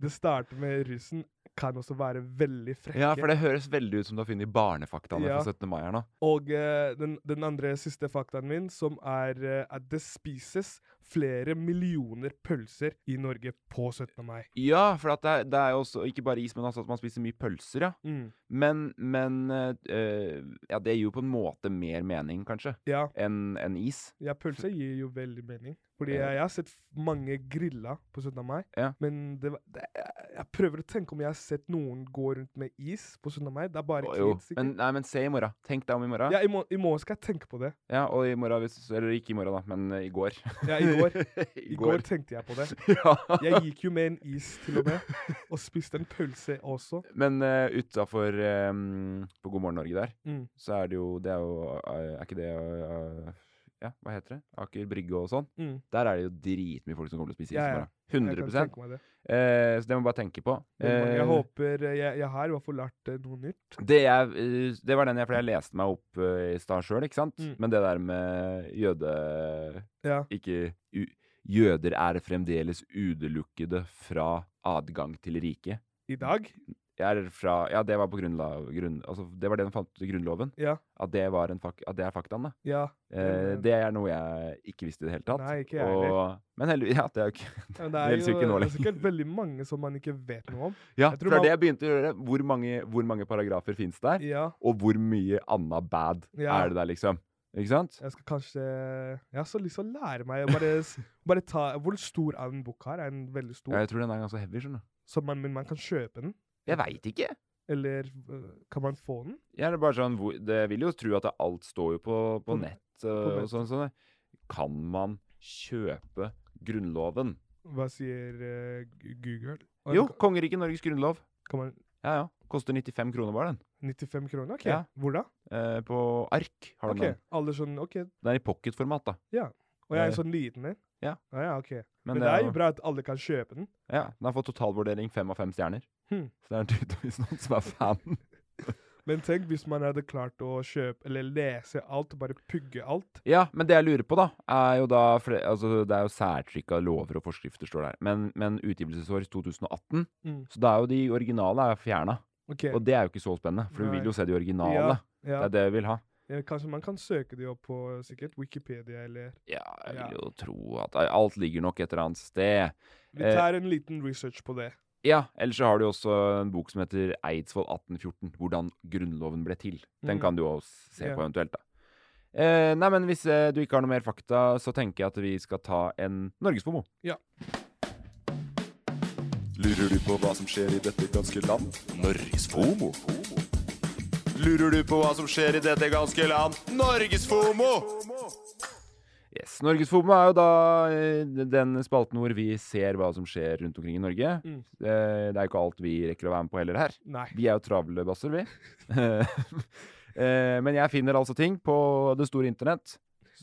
[SPEAKER 1] Det starter med russen, kan også være veldig frekke.
[SPEAKER 4] Ja, for det høres veldig ut som du har funnet barnefaktaene
[SPEAKER 1] Ja.
[SPEAKER 4] fra 17. mai her nå.
[SPEAKER 1] Og eh, den, den andre siste faktaen min, som er eh, at det spises flere millioner pølser i Norge på 17. mai.
[SPEAKER 4] Ja, for at det, er, det er jo også ikke bare is, men altså at man spiser mye pølser, ja.
[SPEAKER 1] Mm.
[SPEAKER 4] Men, men eh, eh, Ja, det gir jo på en måte mer mening, kanskje,
[SPEAKER 1] Ja,
[SPEAKER 4] enn enn is.
[SPEAKER 1] ja, pølser gir jo veldig mening. Fordi
[SPEAKER 4] Ja.
[SPEAKER 1] jeg, jeg har sett f- mange grilla på 17. mai,
[SPEAKER 4] Ja.
[SPEAKER 1] men det, var- det, jeg jeg prøver å tenke om jeg har sett noen gå rundt med is på 17. mai. Det er bare
[SPEAKER 4] Å, jo.
[SPEAKER 1] kids. ikke?
[SPEAKER 4] Men, nei, men se i morgen. Tenk deg om i morgen.
[SPEAKER 1] ja, i, må, I morgen skal jeg tenke på det.
[SPEAKER 4] Ja, og i morgen hvis, Eller ikke i morgen, da, men eh, i går.
[SPEAKER 1] Ja, i går.
[SPEAKER 4] I
[SPEAKER 1] I
[SPEAKER 4] går.
[SPEAKER 1] går tenkte jeg på det.
[SPEAKER 4] ja.
[SPEAKER 1] Jeg gikk jo med en is til og med, og spiste en pølse også.
[SPEAKER 4] Men uh, utafor på God morgen Norge der,
[SPEAKER 1] Mm.
[SPEAKER 4] så er det jo Det er jo eh, Er ikke det eh, Ja, hva heter det? Aker Brygge og sånn.
[SPEAKER 1] Mm.
[SPEAKER 4] Der er det jo dritmye folk som kommer til å spise is
[SPEAKER 1] Ja,
[SPEAKER 4] i
[SPEAKER 1] ja.
[SPEAKER 4] morgen.
[SPEAKER 1] Jeg kan
[SPEAKER 4] 100
[SPEAKER 1] tenke meg det.
[SPEAKER 4] Eh, Så det må man bare tenke på.
[SPEAKER 1] Men
[SPEAKER 4] Eh,
[SPEAKER 1] jeg håper eh, jeg, jeg har i hvert fall lært eh, noe nytt.
[SPEAKER 4] Det, jeg, eh, det var den jeg, for jeg leste meg opp eh, i stad sjøl, ikke sant?
[SPEAKER 1] Mm.
[SPEAKER 4] Men det der med jøde...
[SPEAKER 1] Ja.
[SPEAKER 4] Ikke u, Jøder er fremdeles utelukkede fra adgang til riket.
[SPEAKER 1] I dag?
[SPEAKER 4] Jeg er fra Ja, det var på grunnlag... Grunn, altså, det var det de fant ut i Grunnloven.
[SPEAKER 1] Ja.
[SPEAKER 4] At det, var en fak, at det er faktaen, da.
[SPEAKER 1] Ja.
[SPEAKER 4] Eh,
[SPEAKER 1] men-
[SPEAKER 4] det er noe jeg ikke visste i det hele tatt.
[SPEAKER 1] Nei, ikke jeg
[SPEAKER 4] og, Men heldigvis Ja, det er jo ikke
[SPEAKER 1] Ja, men
[SPEAKER 4] det helst ikke nå
[SPEAKER 1] det er
[SPEAKER 4] lenger.
[SPEAKER 1] sikkert veldig mange som man ikke vet noe om.
[SPEAKER 4] Ja,
[SPEAKER 1] Jeg tror
[SPEAKER 4] for det er
[SPEAKER 1] man-
[SPEAKER 4] det jeg begynte å gjøre. Hvor mange, hvor mange paragrafer fins der?
[SPEAKER 1] Ja,
[SPEAKER 4] Og hvor mye anna bad
[SPEAKER 1] Ja.
[SPEAKER 4] er det der, liksom? Ikke sant?
[SPEAKER 1] jeg skal kanskje Jeg har så lyst til å lære meg å bare, s- bare ta Hvor stor er den boka her? Er den veldig stor?
[SPEAKER 4] Ja, jeg tror den er ganske heavy, skjønner du.
[SPEAKER 1] Så man, men man kan kjøpe den?
[SPEAKER 4] Jeg veit ikke.
[SPEAKER 1] Eller øh, kan man få den?
[SPEAKER 4] Jeg er bare sånn, hvor- det vil jo tro at det- alt står jo på, på
[SPEAKER 1] På
[SPEAKER 4] nett.
[SPEAKER 1] nett.
[SPEAKER 4] øh, og
[SPEAKER 1] nett.
[SPEAKER 4] sånn, sånn. Kan man kjøpe Grunnloven?
[SPEAKER 1] Hva sier øh, Gu- eh, Google? Å Og
[SPEAKER 4] Jo,
[SPEAKER 1] en-
[SPEAKER 4] kongeriket Norges grunnlov.
[SPEAKER 1] Kan man,
[SPEAKER 4] Ja, ja. Koster 95 kroner bare, den.
[SPEAKER 1] 95 kroner? Ok,
[SPEAKER 4] Ja.
[SPEAKER 1] Hvor da?
[SPEAKER 4] Eh, på ark har
[SPEAKER 1] Ok,
[SPEAKER 4] den den.
[SPEAKER 1] Alle sånn OK.
[SPEAKER 4] Den er i pocketformat, da.
[SPEAKER 1] Og jeg er
[SPEAKER 4] Eh,
[SPEAKER 1] sånn liten en?
[SPEAKER 4] ja.
[SPEAKER 1] Ah, ja, ok.
[SPEAKER 4] Men,
[SPEAKER 1] Men, det er
[SPEAKER 4] jo-
[SPEAKER 1] jo bra at alle kan kjøpe den.
[SPEAKER 4] Ja, Den har fått totalvurdering fem av fem stjerner.
[SPEAKER 1] Hmm.
[SPEAKER 4] Så det er tydeligvis noen som er fan.
[SPEAKER 1] Men tenk hvis man hadde klart å kjøpe eller lese alt, bare pugge alt.
[SPEAKER 4] Ja, men det jeg lurer på, da, er jo da fle- altså, Det er jo særtrykk av lover og forskrifter, står det her. Men, men utgivelsesår 2018,
[SPEAKER 1] Mm.
[SPEAKER 4] så da er jo de originale fjerna.
[SPEAKER 1] Ok,
[SPEAKER 4] Og det er jo ikke så spennende, for du
[SPEAKER 1] Nei.
[SPEAKER 4] vil jo se de originale.
[SPEAKER 1] Ja, ja.
[SPEAKER 4] Det er det vi vil ha.
[SPEAKER 1] Eh, Kanskje man kan søke de opp på sikkert Wikipedia, eller
[SPEAKER 4] Ja, jeg
[SPEAKER 1] Ja.
[SPEAKER 4] vil jo tro at alt ligger nok et eller annet sted.
[SPEAKER 1] Vi
[SPEAKER 4] Eh,
[SPEAKER 1] tar en liten research på det.
[SPEAKER 4] Ja, ellers så har du jo også en bok som heter Eidsvoll 1814, hvordan grunnloven ble til. Den
[SPEAKER 1] Mm.
[SPEAKER 4] kan du også se
[SPEAKER 1] Ja.
[SPEAKER 4] på eventuelt, da. Eh, nei, men hvis eh, du ikke har noe mer fakta, så tenker jeg at vi skal ta en norgesfomo.
[SPEAKER 2] Lurer du på hva som skjer i dette ganske land? Norges FOMO. Lurer du på hva som skjer i dette ganske land? Norges FOMO!
[SPEAKER 4] Yes, Norgesfomo er jo da eh, den spalten hvor vi ser hva som skjer rundt omkring i Norge.
[SPEAKER 1] Mm.
[SPEAKER 4] Eh, det er jo ikke alt vi rekker å være med på heller her.
[SPEAKER 1] Nei.
[SPEAKER 4] Vi er jo travle basser, vi. eh, men jeg finner altså ting på det store internett.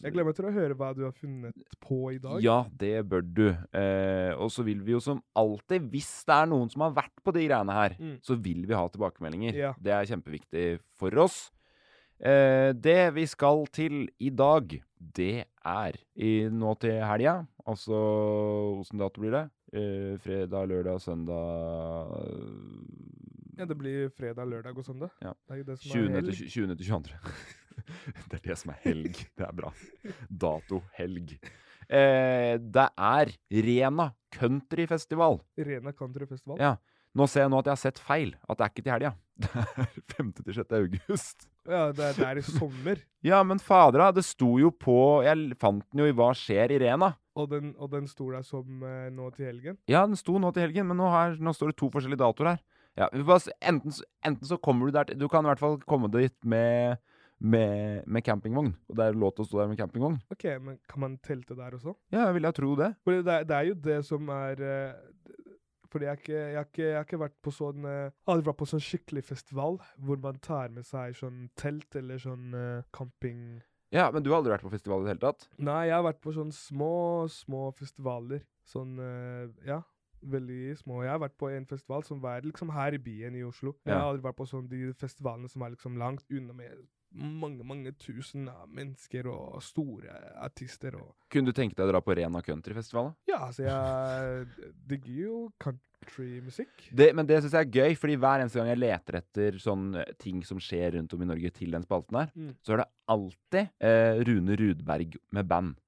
[SPEAKER 1] Jeg glemmer til å høre hva du har funnet på i dag.
[SPEAKER 4] Ja, det bør du. Eh, og så vil vi jo som alltid, hvis det er noen som har vært på de greiene her,
[SPEAKER 1] Mm.
[SPEAKER 4] så vil vi ha tilbakemeldinger.
[SPEAKER 1] Ja.
[SPEAKER 4] Det er kjempeviktig for oss. Eh, det vi skal til i dag, det er i, nå til helga, altså åssen dato blir det? Eh, fredag, lørdag, søndag
[SPEAKER 1] Ja, det blir fredag, lørdag og søndag.
[SPEAKER 4] Ja.
[SPEAKER 1] Det er jo det som
[SPEAKER 4] 20.
[SPEAKER 1] er helg.
[SPEAKER 4] til 20. til 22. det er det som er helg. Det er bra. Dato helg. Eh, det er Rena countryfestival.
[SPEAKER 1] Rena countryfestival.
[SPEAKER 4] Ja. Nå ser jeg nå at jeg har sett feil. At det er ikke til helga. Det er 5. til 6. august.
[SPEAKER 1] Ja, det er der i sommer.
[SPEAKER 4] Ja, men fader, da. Det sto jo på Jeg fant den jo i Hva skjer i Rena.
[SPEAKER 1] Og den, og den sto der som eh, nå til helgen.
[SPEAKER 4] Ja, den sto nå til helgen, men nå, har, nå står det to forskjellige datoer her. Ja, vi får bare se- enten, så- enten så kommer du der til Du kan i hvert fall komme dit med, med, med campingvogn. Og det er lov til å stå der med campingvogn.
[SPEAKER 1] Ok, men kan man telte der også?
[SPEAKER 4] Ja, jeg vil jeg tro det.
[SPEAKER 1] For det, er- det er jo det som er eh, Fordi jeg, har ikke, jeg, har ikke, jeg har ikke vært på sånn eh, Aldri vært på sånn skikkelig festival hvor man tar med seg sånn telt eller sånn eh, camping...
[SPEAKER 4] Ja, men du har aldri vært på festival i det hele tatt?
[SPEAKER 1] Nei, jeg har vært på sånn små, små festivaler. Sånn, eh, ja. Veldig små. Jeg har vært på en festival som var liksom her i byen i Oslo. Jeg
[SPEAKER 4] Ja.
[SPEAKER 1] har aldri vært på sånn de festivalene som er liksom langt unna med mange, mange tusen av mennesker og store artister og
[SPEAKER 4] Kunne du tenke deg å dra på Rena countryfestival? da?
[SPEAKER 1] Ja, altså, jeg digger jo countrymusikk.
[SPEAKER 4] Det, men det syns jeg er gøy, fordi hver eneste gang jeg leter etter sånn eh, ting som skjer rundt om i Norge til den spalten her,
[SPEAKER 1] Mm.
[SPEAKER 4] så er det alltid eh, Rune Rudberg med band.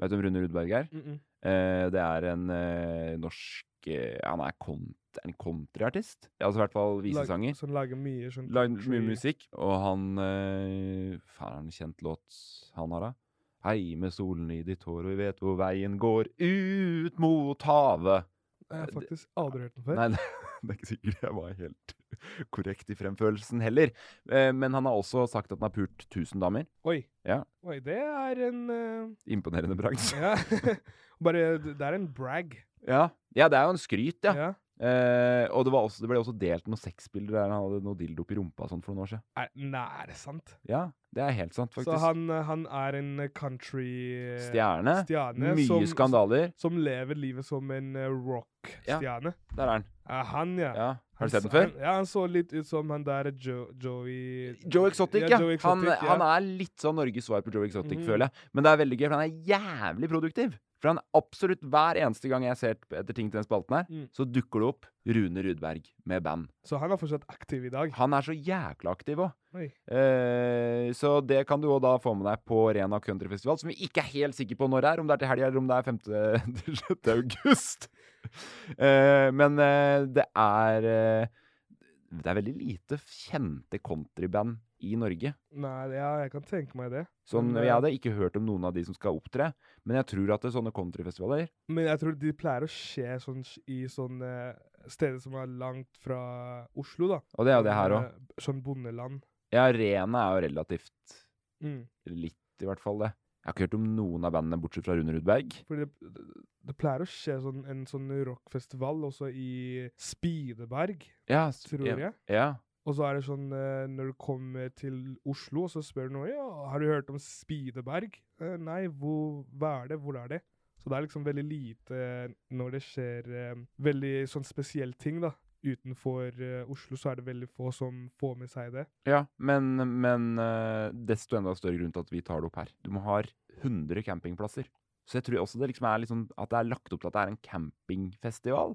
[SPEAKER 4] Vet du hvem Rune Rudberg er?
[SPEAKER 1] Mm -mm.
[SPEAKER 4] Eh, det er en eh, norsk eh, Han er kont en countryartist. Altså i hvert fall
[SPEAKER 1] Lag-
[SPEAKER 4] visesanger.
[SPEAKER 1] Sånn lager mye sånn
[SPEAKER 4] Lagd mye
[SPEAKER 1] country-
[SPEAKER 4] musikk, og han eh, Faen, er det en kjent låt han har, da? Hei med solen i ditt hår, og vi vet hvor veien går ut mot havet.
[SPEAKER 1] Jeg har faktisk aldri hørt den før.
[SPEAKER 4] Nei, det, det er ikke sikkert jeg var helt korrekt i fremførelsen heller. Eh, men han har også sagt at han har pult 1000 damer.
[SPEAKER 1] Oi.
[SPEAKER 4] Ja.
[SPEAKER 1] Oi, det er en eh,
[SPEAKER 4] Imponerende bragd.
[SPEAKER 1] Ja. Bare Det er en brag.
[SPEAKER 4] Ja. ja, det er jo en skryt, ja.
[SPEAKER 1] Ja.
[SPEAKER 4] Eh, og det, var også, det ble også delt noen sexbilder der han hadde noe dildo oppi rumpa og sånt for noen år siden.
[SPEAKER 1] Er, nei, er det sant?
[SPEAKER 4] Ja, det er helt sant, faktisk.
[SPEAKER 1] Så han, eh, han er en eh, country eh,
[SPEAKER 4] Stjerne.
[SPEAKER 1] stjerne
[SPEAKER 4] Mye
[SPEAKER 1] som,
[SPEAKER 4] skandaler.
[SPEAKER 1] Som lever livet som en eh, rockstjerne.
[SPEAKER 4] Der er han.
[SPEAKER 1] Ja. Han, ja.
[SPEAKER 4] Ja. Har
[SPEAKER 1] Han
[SPEAKER 4] du sett
[SPEAKER 1] så-
[SPEAKER 4] den før?
[SPEAKER 1] Han, ja, han så litt ut som han der jo, Joey
[SPEAKER 4] Joe Exotic, ja.
[SPEAKER 1] Joe
[SPEAKER 4] han,
[SPEAKER 1] Exotic,
[SPEAKER 4] han er litt sånn Norges svar på Joe Exotic,
[SPEAKER 1] Mhm.
[SPEAKER 4] føler jeg. Men det er veldig gøy, for han er jævlig produktiv. For han absolutt hver eneste gang jeg ser etter ting til den spalten her,
[SPEAKER 1] Mm.
[SPEAKER 4] så dukker det opp Rune Rudberg med band.
[SPEAKER 1] Så han er fortsatt aktiv i dag.
[SPEAKER 4] Han er så jækla aktiv òg.
[SPEAKER 1] Oi.
[SPEAKER 4] Eh, så det kan du òg da få med deg på Rena countryfestival, som vi ikke er helt sikre på når det er, om det er til helga eller om det er 5. til 6. august. Eh, men eh, det er eh, Det er veldig lite kjente countryband i Norge.
[SPEAKER 1] Nei, det- ja, jeg kan tenke meg det.
[SPEAKER 4] Sånn,
[SPEAKER 1] Men, eh,
[SPEAKER 4] jeg hadde ikke hørt om noen av de som skal opptre, men jeg tror at det er sånne countryfestivaler
[SPEAKER 1] Men jeg tror de pleier å skje sånn, s- i sånne eh, steder som er langt fra Oslo, da.
[SPEAKER 4] Og det er jo det her òg.
[SPEAKER 1] Sånn, eh, Sånn bondeland.
[SPEAKER 4] Ja, Rena er jo relativt
[SPEAKER 1] Mm.
[SPEAKER 4] litt, i hvert fall det. Jeg har ikke hørt om noen av bandene bortsett fra Rune Rudberg.
[SPEAKER 1] Fordi det, det, det pleier å skje sånn, en sånn rockfestival også i Spideberg,
[SPEAKER 4] Ja, s-
[SPEAKER 1] tror
[SPEAKER 4] ja,
[SPEAKER 1] jeg.
[SPEAKER 4] Ja.
[SPEAKER 1] Og så er det sånn eh, når du kommer til Oslo, så spør du noe ja, 'Har du hørt om Spideberg?' Eh, 'Nei, hvor, hva er det? Hvor er det?' Så det er liksom veldig lite når det skjer eh, veldig sånn spesielle ting, da. Utenfor eh, Oslo så er det veldig få som får med seg det.
[SPEAKER 4] Ja, men, men eh, desto enda større grunn til at vi tar det opp her. Du må ha 100 campingplasser. Så jeg tror også det liksom er litt sånn at det er lagt opp til at det er en campingfestival.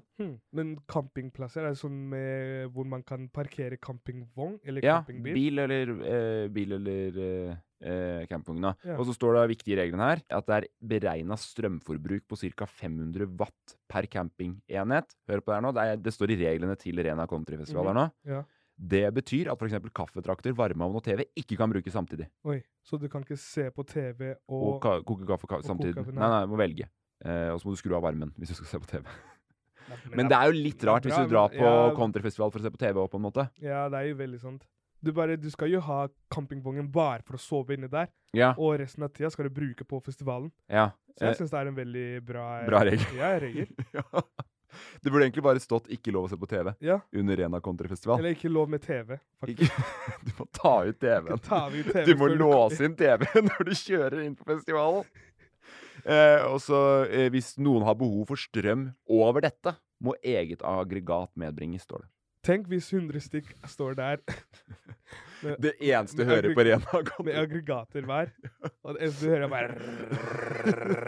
[SPEAKER 1] Men campingplasser er det sånn med, hvor man kan parkere campingvogn eller
[SPEAKER 4] Ja,
[SPEAKER 1] campingbil.
[SPEAKER 4] bil eller, eh, bil eller eh, eh, campingvogn. da.
[SPEAKER 1] Ja.
[SPEAKER 4] Og så står det viktige reglene her at det er beregna strømforbruk på ca. 500 watt per campingenhet. Hør på det her nå. Det, er, det står i reglene til Rena Countryfestival her nå.
[SPEAKER 1] Mhm. Ja.
[SPEAKER 4] Det betyr at f.eks. kaffetrakter, varmeovn og TV ikke kan brukes samtidig.
[SPEAKER 1] Oi, så du kan ikke se på TV
[SPEAKER 4] og,
[SPEAKER 1] og,
[SPEAKER 4] ka koke kaffe ka
[SPEAKER 1] og
[SPEAKER 4] samtidig.
[SPEAKER 1] koke kaffe,
[SPEAKER 4] nei,
[SPEAKER 1] nei.
[SPEAKER 4] nei, du må velge. Eh, og så må du skru av varmen hvis du skal se på TV.
[SPEAKER 1] Nei,
[SPEAKER 4] Men det er jo litt rart hvis
[SPEAKER 1] bra,
[SPEAKER 4] du drar
[SPEAKER 1] men-
[SPEAKER 4] på
[SPEAKER 1] ja,
[SPEAKER 4] countryfestival for å se på TV òg, på en måte.
[SPEAKER 1] Ja, det er jo veldig sant. Du, bare, du skal jo ha campingvognen bare for å sove inne der,
[SPEAKER 4] Ja,
[SPEAKER 1] og resten av tida skal du bruke på festivalen.
[SPEAKER 4] ja.
[SPEAKER 1] Så jeg
[SPEAKER 4] Eh,
[SPEAKER 1] syns det er en veldig bra eh,
[SPEAKER 4] Bra regel.
[SPEAKER 1] Ja, regel.
[SPEAKER 4] ja. Det burde egentlig bare stått 'ikke lov å se på TV'
[SPEAKER 1] Ja.
[SPEAKER 4] under Rena countryfestival.
[SPEAKER 1] Eller ikke lov med TV,
[SPEAKER 4] Ikke,
[SPEAKER 1] faktisk.
[SPEAKER 4] du må ta ut
[SPEAKER 1] Ikke
[SPEAKER 4] TV-en.
[SPEAKER 1] ta vi TV
[SPEAKER 4] Du må
[SPEAKER 1] før
[SPEAKER 4] låse inn TV-en når du kjører inn på festivalen. Eh, og så, eh, hvis noen har behov for strøm over dette, må eget aggregat medbringes, står det.
[SPEAKER 1] Tenk hvis 100 stykk står der
[SPEAKER 4] Det eneste du
[SPEAKER 1] Med
[SPEAKER 4] hører på
[SPEAKER 1] aggre-
[SPEAKER 4] Rena
[SPEAKER 1] med
[SPEAKER 4] countryfestival
[SPEAKER 1] aggregater hver, og det eneste du hører, er bare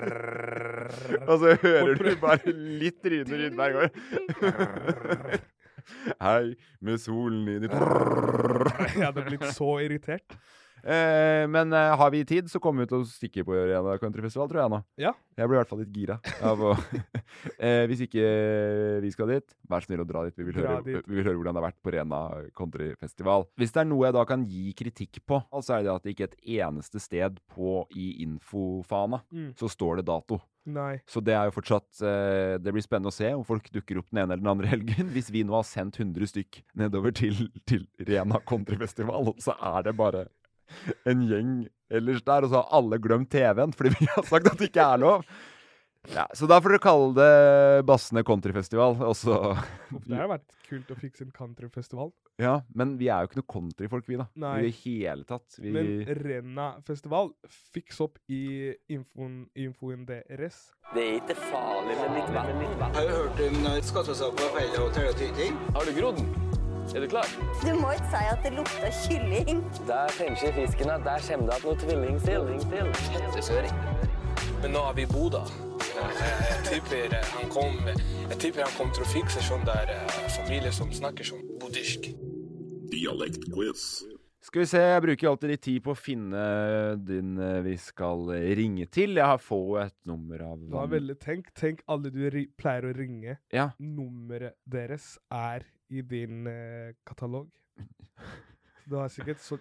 [SPEAKER 4] Og så hører
[SPEAKER 1] Bort
[SPEAKER 4] du
[SPEAKER 1] fra-
[SPEAKER 4] bare litt Rune Rydberg går. Hei, med solen i ditt
[SPEAKER 1] Jeg hadde blitt så irritert.
[SPEAKER 4] eh, Men eh, har vi tid, så kommer vi til å stikke på Arena Countryfestival, tror jeg nå.
[SPEAKER 1] Ja.
[SPEAKER 4] Jeg blir i hvert fall litt gira. Av å, eh, hvis ikke vi skal dit, vær snill å dra dit. Vi vil,
[SPEAKER 1] Dra
[SPEAKER 4] høre,
[SPEAKER 1] dit.
[SPEAKER 4] vi vil høre hvordan det har vært på Rena Countryfestival. Hvis det er noe jeg da kan gi kritikk på, altså er det det at det ikke er et eneste sted på i infofana
[SPEAKER 1] Mm.
[SPEAKER 4] så står det dato.
[SPEAKER 1] Nei.
[SPEAKER 4] Så det er jo fortsatt eh, Det blir spennende å se om folk dukker opp den ene eller den andre helgen. Hvis vi nå har sendt 100 stykk nedover til, til Rena countryfestival, så er det bare en gjeng ellers der, og så har alle glemt TV-en fordi vi har sagt at det ikke er lov. Ja, så da får dere kalle det Bassene countryfestival. Og så
[SPEAKER 1] Det har vært kult å fikse en countryfestival.
[SPEAKER 4] Ja, men vi er jo ikke noe countryfolk, vi, da.
[SPEAKER 1] Nei.
[SPEAKER 4] I det hele tatt. Vi,
[SPEAKER 1] Men Renna festival, fiks opp i infoen, infoen deres.
[SPEAKER 5] Det er ikke farlig med litt vann.
[SPEAKER 6] Har du hørt om skattesak på fellehotell og tyting?
[SPEAKER 5] Har du grodd? Er du klar?
[SPEAKER 7] Du må ikke si at det lukter kylling.
[SPEAKER 5] Der fremskjer fisken at der kommer det at noe tvilling til.
[SPEAKER 6] Men nå er vi i Bodø. Jeg tipper han kom, jeg tipper han kom til å fikse sånn der eh, familie som snakker sånn buddhisk.
[SPEAKER 4] Skal vi se, jeg bruker alltid litt tid på å finne den eh, vi skal ringe til. Jeg har få et nummer av
[SPEAKER 1] Det var veldig tenk. Tenk alle du ri pleier å ringe.
[SPEAKER 4] Ja.
[SPEAKER 1] Nummeret deres er i din eh, katalog. Så Du har sikkert så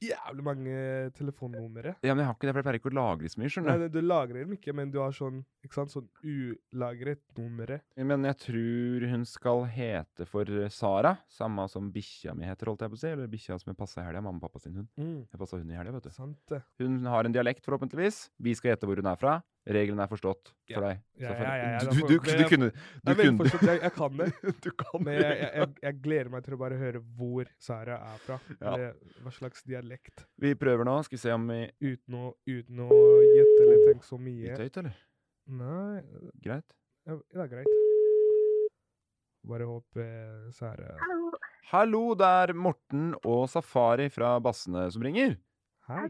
[SPEAKER 1] jævlig mange telefonnumre.
[SPEAKER 4] ja, men jeg har ikke det, for jeg pleier ikke å lagre så mye,
[SPEAKER 1] Nei,
[SPEAKER 4] skjønner du.
[SPEAKER 1] du lagrer dem ikke, men du har sånn ikke sant, sånn ulagret numre.
[SPEAKER 4] Men jeg tror hun skal hete for eh, Sara. Samme som bikkja mi heter, holdt jeg på å si. Eller bikkja som jeg passa i helga. Mamma og pappa sin hund. Jeg passa hund i helga, vet du.
[SPEAKER 1] Sant det.
[SPEAKER 4] Hun har en dialekt, forhåpentligvis. Vi skal gjette hvor hun er fra. Reglene er forstått for deg.
[SPEAKER 1] Ja,
[SPEAKER 4] Så
[SPEAKER 1] ja,
[SPEAKER 4] for-
[SPEAKER 1] ja, ja, da får-
[SPEAKER 4] du, du,
[SPEAKER 1] men
[SPEAKER 4] du
[SPEAKER 1] jeg-
[SPEAKER 4] kunne Du
[SPEAKER 1] Jeg, vet
[SPEAKER 4] kunne
[SPEAKER 1] fortsatt, jeg, jeg kan det,
[SPEAKER 4] Du kan
[SPEAKER 1] men jeg, jeg, jeg, jeg gleder meg til å bare høre hvor Sara er fra.
[SPEAKER 4] Ja.
[SPEAKER 1] Eller hva slags dialekt.
[SPEAKER 4] Vi prøver nå. Skal vi se om vi
[SPEAKER 1] Uten å, uten å gjette eller tenke så
[SPEAKER 4] Litt
[SPEAKER 1] mye.
[SPEAKER 4] høyt, eller?
[SPEAKER 1] Nei,
[SPEAKER 4] Greit.
[SPEAKER 1] ja, det er greit. Bare håper Sara
[SPEAKER 7] Oh,
[SPEAKER 4] Hallo, det er Morten og Safari fra Bassene som ringer.
[SPEAKER 1] Hei.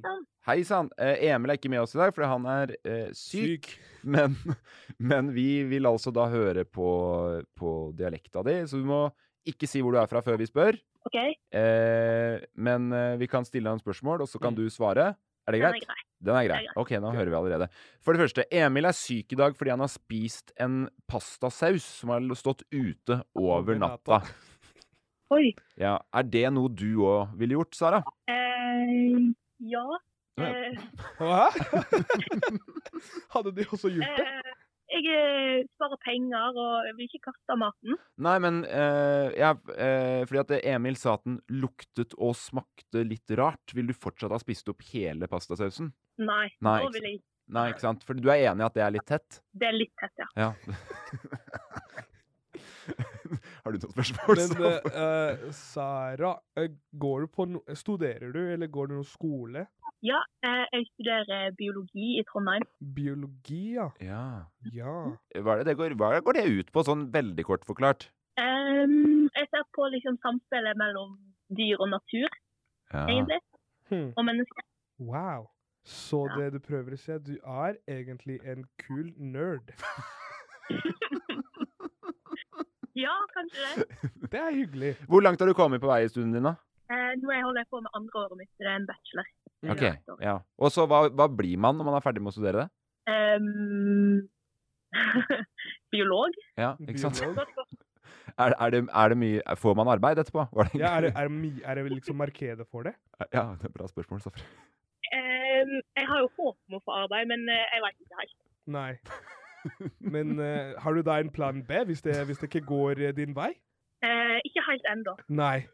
[SPEAKER 4] Hei sann. Eh, Emil er ikke med oss i dag, fordi han er eh, syk. Men, men vi vil altså da høre på, på dialekta di, så du må ikke si hvor du er fra før vi spør.
[SPEAKER 7] Ok,
[SPEAKER 4] Eh, men eh, vi kan stille han spørsmål, og så kan du svare. Er det
[SPEAKER 7] den er
[SPEAKER 4] greit?
[SPEAKER 7] grei.
[SPEAKER 4] Mm. Den er grei.
[SPEAKER 7] Det er greit.
[SPEAKER 4] Ok, nå hører vi allerede. For det første, Emil er syk i dag fordi han har spist en pastasaus som har stått ute
[SPEAKER 1] Over
[SPEAKER 4] over
[SPEAKER 1] natta.
[SPEAKER 4] natta.
[SPEAKER 7] Oi.
[SPEAKER 4] Ja, Er det noe du òg ville gjort, Sara?
[SPEAKER 7] Eh, ja.
[SPEAKER 4] Ja.
[SPEAKER 7] Eh,
[SPEAKER 1] Hæ? Hadde de også gjort det?
[SPEAKER 7] eh, jeg eh, sparer penger og jeg vil ikke kaste maten.
[SPEAKER 4] Nei, men eh, ja, eh, Fordi at Emil sa at den luktet og smakte litt rart. Vil du fortsatt ha spist opp hele pastasausen?
[SPEAKER 7] Nei,
[SPEAKER 4] Nei,
[SPEAKER 7] nå
[SPEAKER 4] ikke
[SPEAKER 7] vil jeg ikke.
[SPEAKER 4] Nei, ikke sant? For du er enig i at det er litt tett?
[SPEAKER 7] Det er litt tett, ja.
[SPEAKER 4] Ja. Har du noen spørsmål?
[SPEAKER 1] Men
[SPEAKER 4] Sam?
[SPEAKER 1] eh, eh, Sara, eh, går du på no studerer du, eller går du noen skole?
[SPEAKER 7] Ja, eh, jeg studerer biologi i Trondheim.
[SPEAKER 1] Biologi, ja.
[SPEAKER 4] ja.
[SPEAKER 1] Ja.
[SPEAKER 7] Mm.
[SPEAKER 4] Hva, er det det går, hva går det ut på, sånn veldig kort forklart?
[SPEAKER 7] Em, jeg ser på liksom samspillet mellom dyr og natur, egentlig, og mennesker.
[SPEAKER 1] Wow. Så det du prøver å si, at du er egentlig en kul nerd.
[SPEAKER 7] Ja, kanskje det.
[SPEAKER 1] Det er hyggelig.
[SPEAKER 4] Hvor langt har du kommet på vei i studien din, da?
[SPEAKER 7] Eh, nå holder jeg på med andre året mitt, så det er en bachelor.
[SPEAKER 4] Ok, ja. Og så hva, hva blir man når man er ferdig med å studere det?
[SPEAKER 7] Em, biolog.
[SPEAKER 4] Ja, ikke sant?
[SPEAKER 1] Biolog.
[SPEAKER 4] Er, er, det, er det mye Får man arbeid etterpå? Var det
[SPEAKER 1] Ja, er, det, er, det mi- er det liksom markedet for det?
[SPEAKER 4] ja, det er et bra spørsmål, Safra.
[SPEAKER 7] Em, jeg har jo håp om å få arbeid, men eh, jeg vet ikke helt.
[SPEAKER 1] Nei. Men eh, har du da en plan B, hvis det, hvis det ikke går eh, din vei?
[SPEAKER 7] Eh, ikke helt ennå.
[SPEAKER 1] Nei.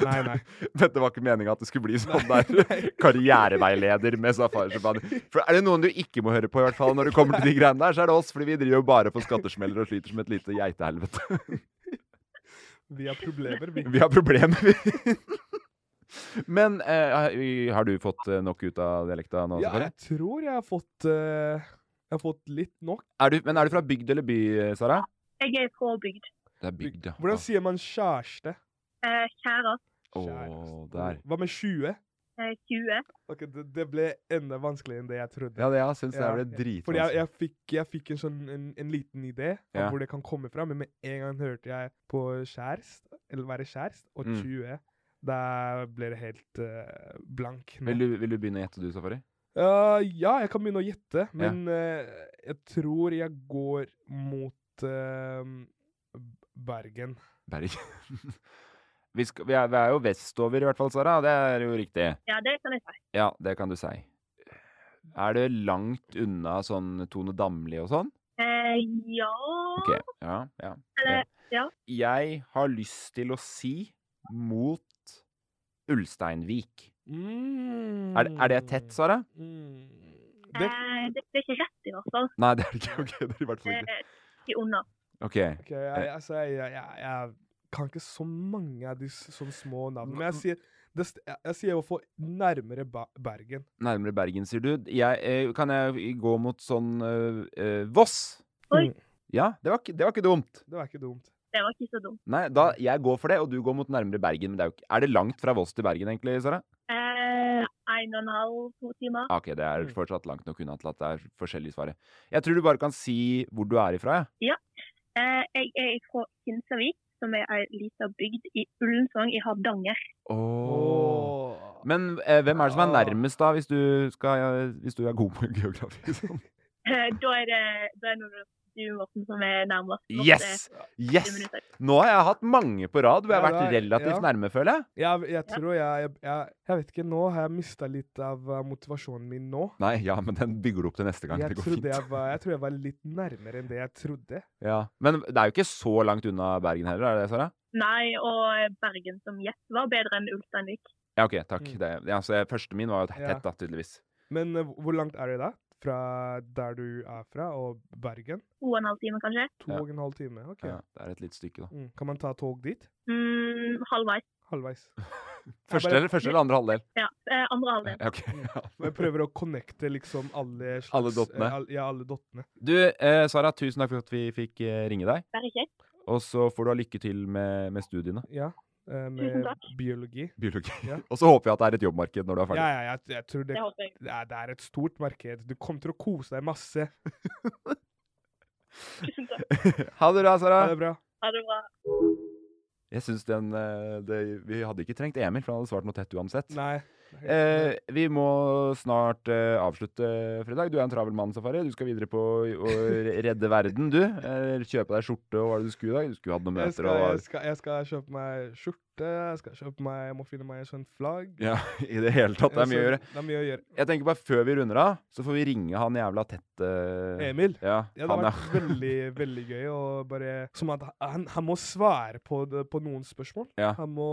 [SPEAKER 1] Nei, nei.
[SPEAKER 4] Dette var ikke meninga at det skulle bli sånn der. Karriereveileder med safarisjapan. For er det noen du ikke må høre på, i hvert fall når det kommer til de greiene der, så er det oss, fordi vi driver jo bare på skattesmeller og sliter som et lite geitehelvete.
[SPEAKER 1] Vi har problemer, vi.
[SPEAKER 4] Vi har problemer, vi. Men eh, har du fått eh, nok ut av dialekta nå?
[SPEAKER 1] Ja,
[SPEAKER 4] Safari?
[SPEAKER 1] jeg tror jeg har fått eh, Jeg har fått litt nok.
[SPEAKER 4] Er du, men er du fra bygd eller by, eh, Sara?
[SPEAKER 7] Jeg er fra bygd.
[SPEAKER 4] Det er bygd, ja.
[SPEAKER 1] Hvordan sier man kjæreste?
[SPEAKER 7] Eh, kjære,
[SPEAKER 4] Å, der.
[SPEAKER 1] Hva med 20?
[SPEAKER 7] eh, 20.
[SPEAKER 1] Ok, det, det ble enda vanskeligere enn det jeg trodde.
[SPEAKER 4] Ja, det, jeg syns det ble
[SPEAKER 1] Fordi jeg,
[SPEAKER 4] dritvanskelig.
[SPEAKER 1] jeg, fikk, jeg fikk en sånn en, en liten idé av
[SPEAKER 4] Ja.
[SPEAKER 1] hvor det kan komme fra, men med en gang hørte jeg på kjærest, eller være kjærest, og
[SPEAKER 4] Mm.
[SPEAKER 1] 20, da ble det helt eh, blank. nå.
[SPEAKER 4] Vil du, vil du begynne å gjette, du, Safari?
[SPEAKER 1] Eh, ja, jeg kan begynne å gjette, men eh, jeg tror jeg går mot eh, Bergen.
[SPEAKER 4] Bergen. Vi, skal, vi, er, vi er jo vestover, i hvert fall, Sara. Det er jo riktig.
[SPEAKER 7] Ja, det kan jeg si.
[SPEAKER 4] Ja, det kan du si. Er det langt unna sånn Tone Damli og sånn?
[SPEAKER 7] Eh, ja
[SPEAKER 4] Ok, ja, ja.
[SPEAKER 7] Eller, Eh, ja.
[SPEAKER 4] Jeg har lyst til å si mot Ulsteinvik. Er, er det
[SPEAKER 7] Hmm.
[SPEAKER 4] tett, Sara?
[SPEAKER 1] Det,
[SPEAKER 7] Mm. Eh, det, det er ikke rett, i hvert fall.
[SPEAKER 4] Nei, det er det ikke. Ok, det er i hvert fall
[SPEAKER 7] Eh,
[SPEAKER 4] ikke.
[SPEAKER 7] ikke unna.
[SPEAKER 4] Ok.
[SPEAKER 1] Ok,
[SPEAKER 4] Eh.
[SPEAKER 1] jeg, altså, jeg, jeg, jeg, jeg kan ikke så mange av de s- sånne små navnene, men jeg sier, det, st- jeg, jeg sier hvorfor nærmere ba Bergen.
[SPEAKER 4] Nærmere Bergen, sier du. Jeg, eh, kan jeg gå mot sånn eh, eh, Voss?
[SPEAKER 7] Oi.
[SPEAKER 4] Ja, det var, ikke- det var ikke dumt.
[SPEAKER 1] Mm. Det var ikke dumt.
[SPEAKER 7] Det var ikke så dumt.
[SPEAKER 4] Nei, da, jeg går for det, og du går mot nærmere Bergen. Men det er, jo ikke, er det langt fra Voss til Bergen, egentlig, Sara?
[SPEAKER 7] Eh, en og en halv, to timer.
[SPEAKER 4] Ah, Ok, det
[SPEAKER 7] Mm.
[SPEAKER 4] er fortsatt langt nok unna til at det er forskjellige svaret. Jeg tror du bare kan si hvor du er ifra, jeg.
[SPEAKER 7] Ja. Eh, jeg er fra Kinsarvik, som er ei lita bygd i Ullensvang i Hardanger.
[SPEAKER 1] Åh.
[SPEAKER 4] Men eh, hvem er det som er
[SPEAKER 1] Ah.
[SPEAKER 4] nærmest, da, hvis du, skal, hvis du er god på geografi? Sånn.
[SPEAKER 7] Eh, da er det da er det Nordre du, Morten, som er nærmest.
[SPEAKER 4] Yes!
[SPEAKER 7] Ti
[SPEAKER 4] Yes!
[SPEAKER 7] minutter.
[SPEAKER 4] Nå har jeg hatt mange på rad hvor jeg
[SPEAKER 1] Ja,
[SPEAKER 4] har vært
[SPEAKER 1] det er-
[SPEAKER 4] relativt
[SPEAKER 1] ja.
[SPEAKER 4] nærme, føler jeg.
[SPEAKER 1] Jeg, jeg tror jeg, jeg, jeg Jeg vet ikke, nå har jeg mista litt av eh, motivasjonen min nå.
[SPEAKER 4] Nei, ja, men den bygger du opp til neste gang.
[SPEAKER 1] Jeg,
[SPEAKER 4] det går
[SPEAKER 1] trodde
[SPEAKER 4] fint.
[SPEAKER 1] jeg, var, jeg tror jeg var litt nærmere enn det jeg trodde.
[SPEAKER 4] Ja. Men det er jo ikke så langt unna Bergen heller, er det det, Sara?
[SPEAKER 7] Nei, og Bergen som gjett var bedre enn Ulsteinvik.
[SPEAKER 4] Ja, OK, takk.
[SPEAKER 7] Mm.
[SPEAKER 4] Det, ja, så jeg, første min var jo
[SPEAKER 1] Ja.
[SPEAKER 4] tett, da, tydeligvis.
[SPEAKER 1] Men eh, hvor langt er det da? Fra der du er fra, og Bergen?
[SPEAKER 7] To og en halv time, kanskje?
[SPEAKER 1] To
[SPEAKER 4] Ja.
[SPEAKER 1] og en halv time. OK.
[SPEAKER 4] Ja, det er et lite stykke, da.
[SPEAKER 1] Mm. Kan man ta tog dit?
[SPEAKER 7] Mm, halvveis.
[SPEAKER 1] Halvveis.
[SPEAKER 4] Første
[SPEAKER 1] bare-
[SPEAKER 4] eller, første eller andre halvdel?
[SPEAKER 7] Ja, Mm. eh, andre halvdel.
[SPEAKER 4] Ja, OK. Ja.
[SPEAKER 1] Jeg prøver å connecte liksom alle slags
[SPEAKER 4] Alle dottene.
[SPEAKER 1] eh, all- Ja, alle dottene.
[SPEAKER 4] Du, eh, Sara, tusen takk for at vi fikk eh, ringe deg.
[SPEAKER 7] Bare kjekt.
[SPEAKER 4] Og så får du ha lykke til med, med studiene.
[SPEAKER 1] Ja. eh,
[SPEAKER 7] Tusen
[SPEAKER 1] Med
[SPEAKER 7] takk.
[SPEAKER 1] biologi.
[SPEAKER 4] Biologi.
[SPEAKER 1] Ja.
[SPEAKER 4] Og så håper jeg at det er et jobbmarked når du er
[SPEAKER 1] Ja,
[SPEAKER 4] ferdig.
[SPEAKER 1] ja, jeg, jeg tror det,
[SPEAKER 7] Det håper jeg.
[SPEAKER 1] det, er, det er et stort marked. Du kommer til å kose deg masse.
[SPEAKER 7] Tusen takk.
[SPEAKER 4] Ha det bra, Sara.
[SPEAKER 1] Ha det bra.
[SPEAKER 7] Ha det bra.
[SPEAKER 4] Jeg synes den eh, det, Vi hadde ikke trengt Emil, for han hadde svart noe tett uansett.
[SPEAKER 1] Nei.
[SPEAKER 4] Eh, vi må snart eh, avslutte for i dag. Du er en travel mann, Safari. Du skal videre på å redde verden, du. Eh, kjøpe deg skjorte og hva er det du skulle i dag? Du skulle hatt noen
[SPEAKER 1] Jeg
[SPEAKER 4] møter
[SPEAKER 1] skal,
[SPEAKER 4] og
[SPEAKER 1] jeg, skal, jeg skal kjøpe meg skjorte, skjorte, jeg skal kjøpe meg, jeg må finne meg et sånt flagg.
[SPEAKER 4] Ja, i det hele tatt. Det er mye å gjøre.
[SPEAKER 1] Det er mye å gjøre.
[SPEAKER 4] Jeg tenker bare Før vi runder av, så får vi ringe han jævla tett eh,
[SPEAKER 1] Emil?
[SPEAKER 4] Ja,
[SPEAKER 1] Ja, det
[SPEAKER 4] han,
[SPEAKER 1] har
[SPEAKER 4] ja.
[SPEAKER 1] vært veldig veldig gøy. Og bare, som at han, han må svare på, det, på noen spørsmål.
[SPEAKER 4] Ja.
[SPEAKER 1] Han må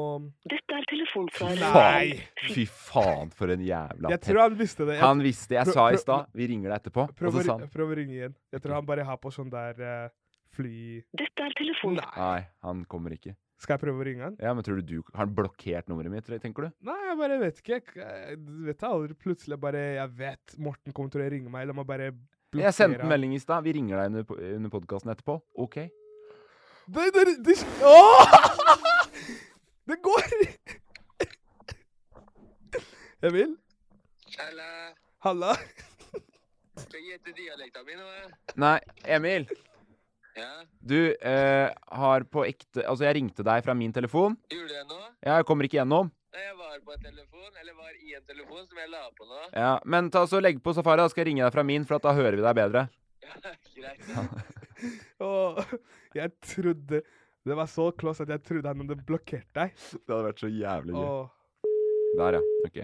[SPEAKER 8] Dette er telefonsvaret.
[SPEAKER 1] Nei!
[SPEAKER 4] Faen. Fy faen, for en jævla
[SPEAKER 1] Jeg
[SPEAKER 4] tett.
[SPEAKER 1] tror han visste det. Jeg-
[SPEAKER 4] Han altså, visste Jeg
[SPEAKER 1] Prøv-
[SPEAKER 4] sa i
[SPEAKER 1] prøv-
[SPEAKER 4] stad Vi ringer deg etterpå. Og
[SPEAKER 1] Prøv,
[SPEAKER 4] så
[SPEAKER 1] å
[SPEAKER 4] sa
[SPEAKER 1] ri-
[SPEAKER 4] han
[SPEAKER 1] prøv å ringe igjen. Jeg tror han bare har på sånn der eh, fly...
[SPEAKER 8] Dette er telefonen.
[SPEAKER 4] Nei, han kommer ikke.
[SPEAKER 1] Skal jeg prøve å ringe han?
[SPEAKER 4] Ja, men tror du du Har han blokkert nummeret mitt, tror jeg, tenker du?
[SPEAKER 1] Nei, jeg bare vet ikke. Jeg, jeg vet jeg aldri plutselig bare Jeg vet Morten kommer til å ringe meg. La meg bare blokkere
[SPEAKER 4] Jeg sendte
[SPEAKER 1] han.
[SPEAKER 4] en melding i stad. Vi ringer deg under, po- under podkasten etterpå. OK?
[SPEAKER 1] Det, det, det, oh! Åh! det går Emil? Halla. Halla.
[SPEAKER 4] Nei, Emil. Du eh, har på ekte Altså, jeg ringte deg fra min telefon.
[SPEAKER 9] Gjorde du det nå?
[SPEAKER 4] Ja, jeg kommer ikke gjennom.
[SPEAKER 9] Nei, Jeg var på en telefon, eller var i en telefon, som jeg la på nå.
[SPEAKER 4] Ja, men ta så legg på Safari, da skal jeg ringe deg fra min, for at da hører vi deg bedre.
[SPEAKER 9] Greit.
[SPEAKER 1] Åh, jeg trodde Det var så close at jeg trodde han hadde blokkert deg.
[SPEAKER 4] Det hadde vært så jævlig
[SPEAKER 1] Åh.
[SPEAKER 4] Der, ja. OK.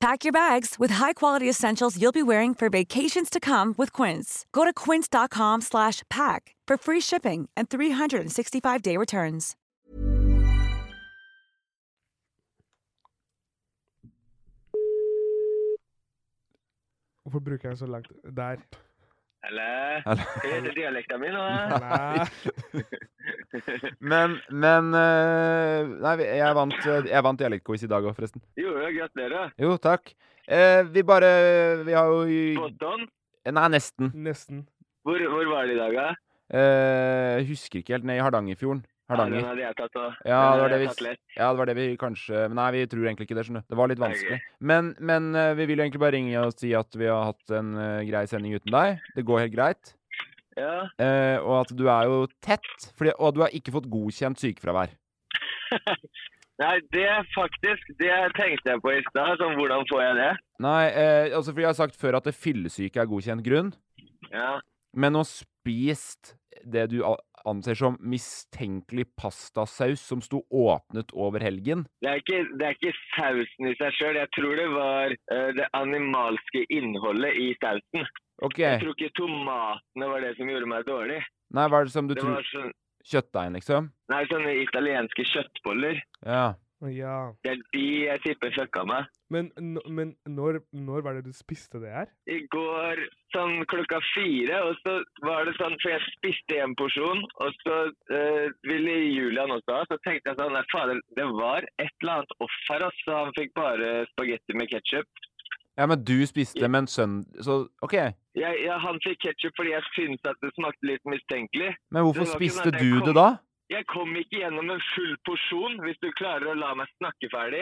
[SPEAKER 10] Pack your bags with high-quality essentials you'll be wearing for vacations to come with Quince. Go to quince.com slash pack for free shipping and 365-day returns.
[SPEAKER 1] Hvorfor bruker jeg så langt Der.
[SPEAKER 9] Eller?
[SPEAKER 4] Eller?
[SPEAKER 9] Er det dialekten min nå?
[SPEAKER 4] Nei. Men, men eh, Nei, jeg vant, eh, jeg vant dialektquiz i dag òg, forresten.
[SPEAKER 9] Jo, jo, gratulerer.
[SPEAKER 4] Jo, takk. Eh, vi bare Vi har jo
[SPEAKER 9] Boston?
[SPEAKER 4] Nei, nesten.
[SPEAKER 1] Nesten.
[SPEAKER 9] Hvor, hvor var det i dag, da?
[SPEAKER 4] Eh, husker ikke helt. Ned i Hardangerfjorden.
[SPEAKER 9] Ja,
[SPEAKER 4] Hardanger.
[SPEAKER 9] den hadde jeg tatt òg.
[SPEAKER 4] Ja, det var det, vi, ja, det var det vi kanskje Men nei, vi tror egentlig ikke det, skjønner du. Det var litt vanskelig.
[SPEAKER 9] Ok.
[SPEAKER 4] Men, men eh, vi vil jo egentlig bare ringe og si at vi har hatt en eh, grei sending uten deg. Det går helt greit.
[SPEAKER 9] Ja.
[SPEAKER 4] Eh, og at du er jo tett, fordi, og du har ikke fått godkjent sykefravær.
[SPEAKER 9] Nei, det faktisk, det tenkte jeg på i stad. Sånn, hvordan får jeg det?
[SPEAKER 4] Nei, eh, altså fordi jeg har sagt før at det fyllesyke er godkjent grunn,
[SPEAKER 9] Ja.
[SPEAKER 4] men å spist det du a- anser som mistenkelig pastasaus som sto åpnet over helgen
[SPEAKER 9] Det er, ikke, det er ikke sausen i seg sjøl. Jeg tror det var eh, det animalske innholdet i sausen.
[SPEAKER 4] Ok.
[SPEAKER 9] Jeg tror ikke tomatene var det som gjorde meg dårlig.
[SPEAKER 4] Nei, hva er det som du
[SPEAKER 9] Det
[SPEAKER 4] tror
[SPEAKER 9] var sånn,
[SPEAKER 4] Kjøttdeigen, liksom?
[SPEAKER 9] nei, sånne italienske kjøttboller.
[SPEAKER 4] Ja.
[SPEAKER 1] Ja.
[SPEAKER 9] Det er de jeg tipper fucka meg.
[SPEAKER 1] Men, n- men når, når var det du spiste det her?
[SPEAKER 9] i går sånn klokka fire, og så var det sånn, for jeg spiste en porsjon, og så eh, ville Julian også ha, så tenkte jeg sånn, nei fader, det var et eller annet off her, altså, han fikk bare spagetti med ketchup.
[SPEAKER 4] Ja, men du spiste, men sønn Så OK.
[SPEAKER 9] Jeg, jeg, han fikk ketsjup fordi jeg syntes at det smakte litt mistenkelig.
[SPEAKER 4] Men hvorfor
[SPEAKER 9] Det var ikke sånn
[SPEAKER 4] spiste
[SPEAKER 9] at jeg
[SPEAKER 4] du
[SPEAKER 9] kom-
[SPEAKER 4] det da?
[SPEAKER 9] Jeg kom ikke gjennom en full porsjon. Hvis du klarer å la meg snakke ferdig.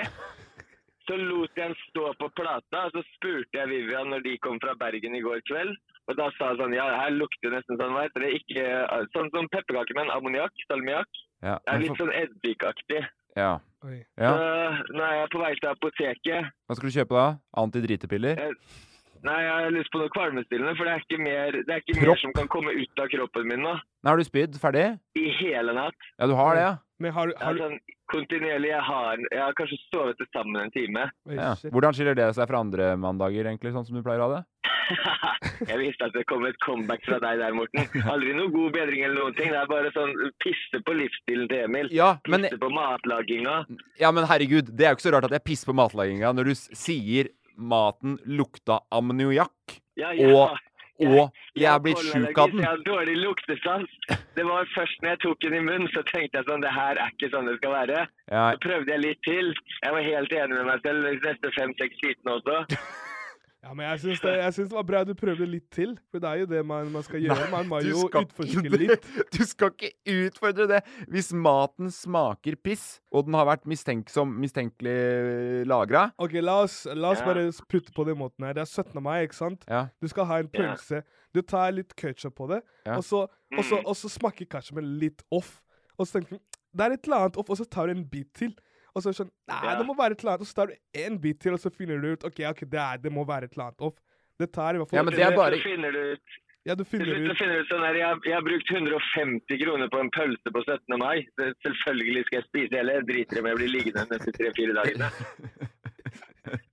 [SPEAKER 9] Så lot jeg den stå på plata, og så spurte jeg Vivian når de kom fra Bergen i går kveld. Og da sa hun sånn Ja, det her lukter nesten sånn, vet dere. Ikke Sånn som pepperkaker, men ammoniakk. Salmiakk.
[SPEAKER 4] Ja.
[SPEAKER 9] Det er
[SPEAKER 4] men
[SPEAKER 9] litt
[SPEAKER 4] for-
[SPEAKER 9] sånn eddikaktig.
[SPEAKER 4] ja. ja.
[SPEAKER 9] Så nå er jeg på vei til apoteket.
[SPEAKER 4] Hva skal du kjøpe da? Antidritepiller?
[SPEAKER 9] Jeg, nei, jeg har lyst på noe kvalmestillende, for det er ikke mer, det er ikke
[SPEAKER 4] Propp.
[SPEAKER 9] mer som kan komme ut av kroppen min nå.
[SPEAKER 4] Nei, har du spydd? Ferdig?
[SPEAKER 9] I hele natt.
[SPEAKER 4] Ja, du har det, ja?
[SPEAKER 1] Men har,
[SPEAKER 9] har du... Sånn, kontinuerlig. Jeg har, jeg har kanskje sovet til sammen en time.
[SPEAKER 4] ja. Hvordan skiller det seg fra andre mandager, egentlig, sånn som du pleier å ha det?
[SPEAKER 9] Jeg visste at det kom et comeback fra deg der, Morten. Aldri noe god bedring eller noen ting. Det er bare sånn pisse på livsstilen til Emil.
[SPEAKER 4] Ja, men-
[SPEAKER 9] Pisse på matlaginga.
[SPEAKER 4] Ja, men herregud, det er jo ikke så rart at jeg pisser på matlaginga når du s- sier maten lukta ammoniakk,
[SPEAKER 9] Ja, ja.
[SPEAKER 4] og, og jeg er blitt sjuk av
[SPEAKER 9] Pollenallergi, så
[SPEAKER 4] den.
[SPEAKER 9] Jeg har dårlig luktesans. Det var først når jeg tok den i munnen, så tenkte jeg sånn Det her er ikke sånn det skal være.
[SPEAKER 4] Ja.
[SPEAKER 9] Så prøvde jeg litt til. Jeg var helt enig med meg selv de neste fem-seks bitene også.
[SPEAKER 1] Ja, men jeg syns, det, jeg syns det var bra du prøvde litt til, for det er jo det man, man skal gjøre. man må
[SPEAKER 4] du
[SPEAKER 1] jo
[SPEAKER 4] skal
[SPEAKER 1] utforske
[SPEAKER 4] ikke-
[SPEAKER 1] litt.
[SPEAKER 4] Du skal ikke utfordre det! Hvis maten smaker piss, og den har vært mistenksom, mistenkelig lagra
[SPEAKER 1] OK, la oss, la oss
[SPEAKER 4] Ja.
[SPEAKER 1] bare putte på den måten her. Det er 17. mai, ikke sant?
[SPEAKER 4] Ja.
[SPEAKER 1] Du skal ha en
[SPEAKER 4] Ja.
[SPEAKER 1] pølse. Du tar litt ketsjup på det,
[SPEAKER 4] Ja.
[SPEAKER 1] og, så, og, så,
[SPEAKER 4] Mm.
[SPEAKER 1] og så smaker ketsjupen litt off. Og så tenker du det er et eller annet off, og så tar du en bit til. Og så er det sånn Nei,
[SPEAKER 4] Ja.
[SPEAKER 1] det må være et eller annet. Og så tar du en bit til, og så finner du ut OK, ok, det, er, det må være et eller annet off. Det tar i hvert fall
[SPEAKER 4] Ja, men det er bare-
[SPEAKER 9] Så finner du ut
[SPEAKER 1] Ja, du
[SPEAKER 9] Til
[SPEAKER 1] finner
[SPEAKER 9] slutt så
[SPEAKER 1] ut
[SPEAKER 9] finner du ut sånn her, jeg, jeg har brukt 150 kroner på en pølse på 17. mai. Så Selvfølgelig skal jeg spise hele. Jeg driter i om jeg blir liggende de neste tre-fire dagene.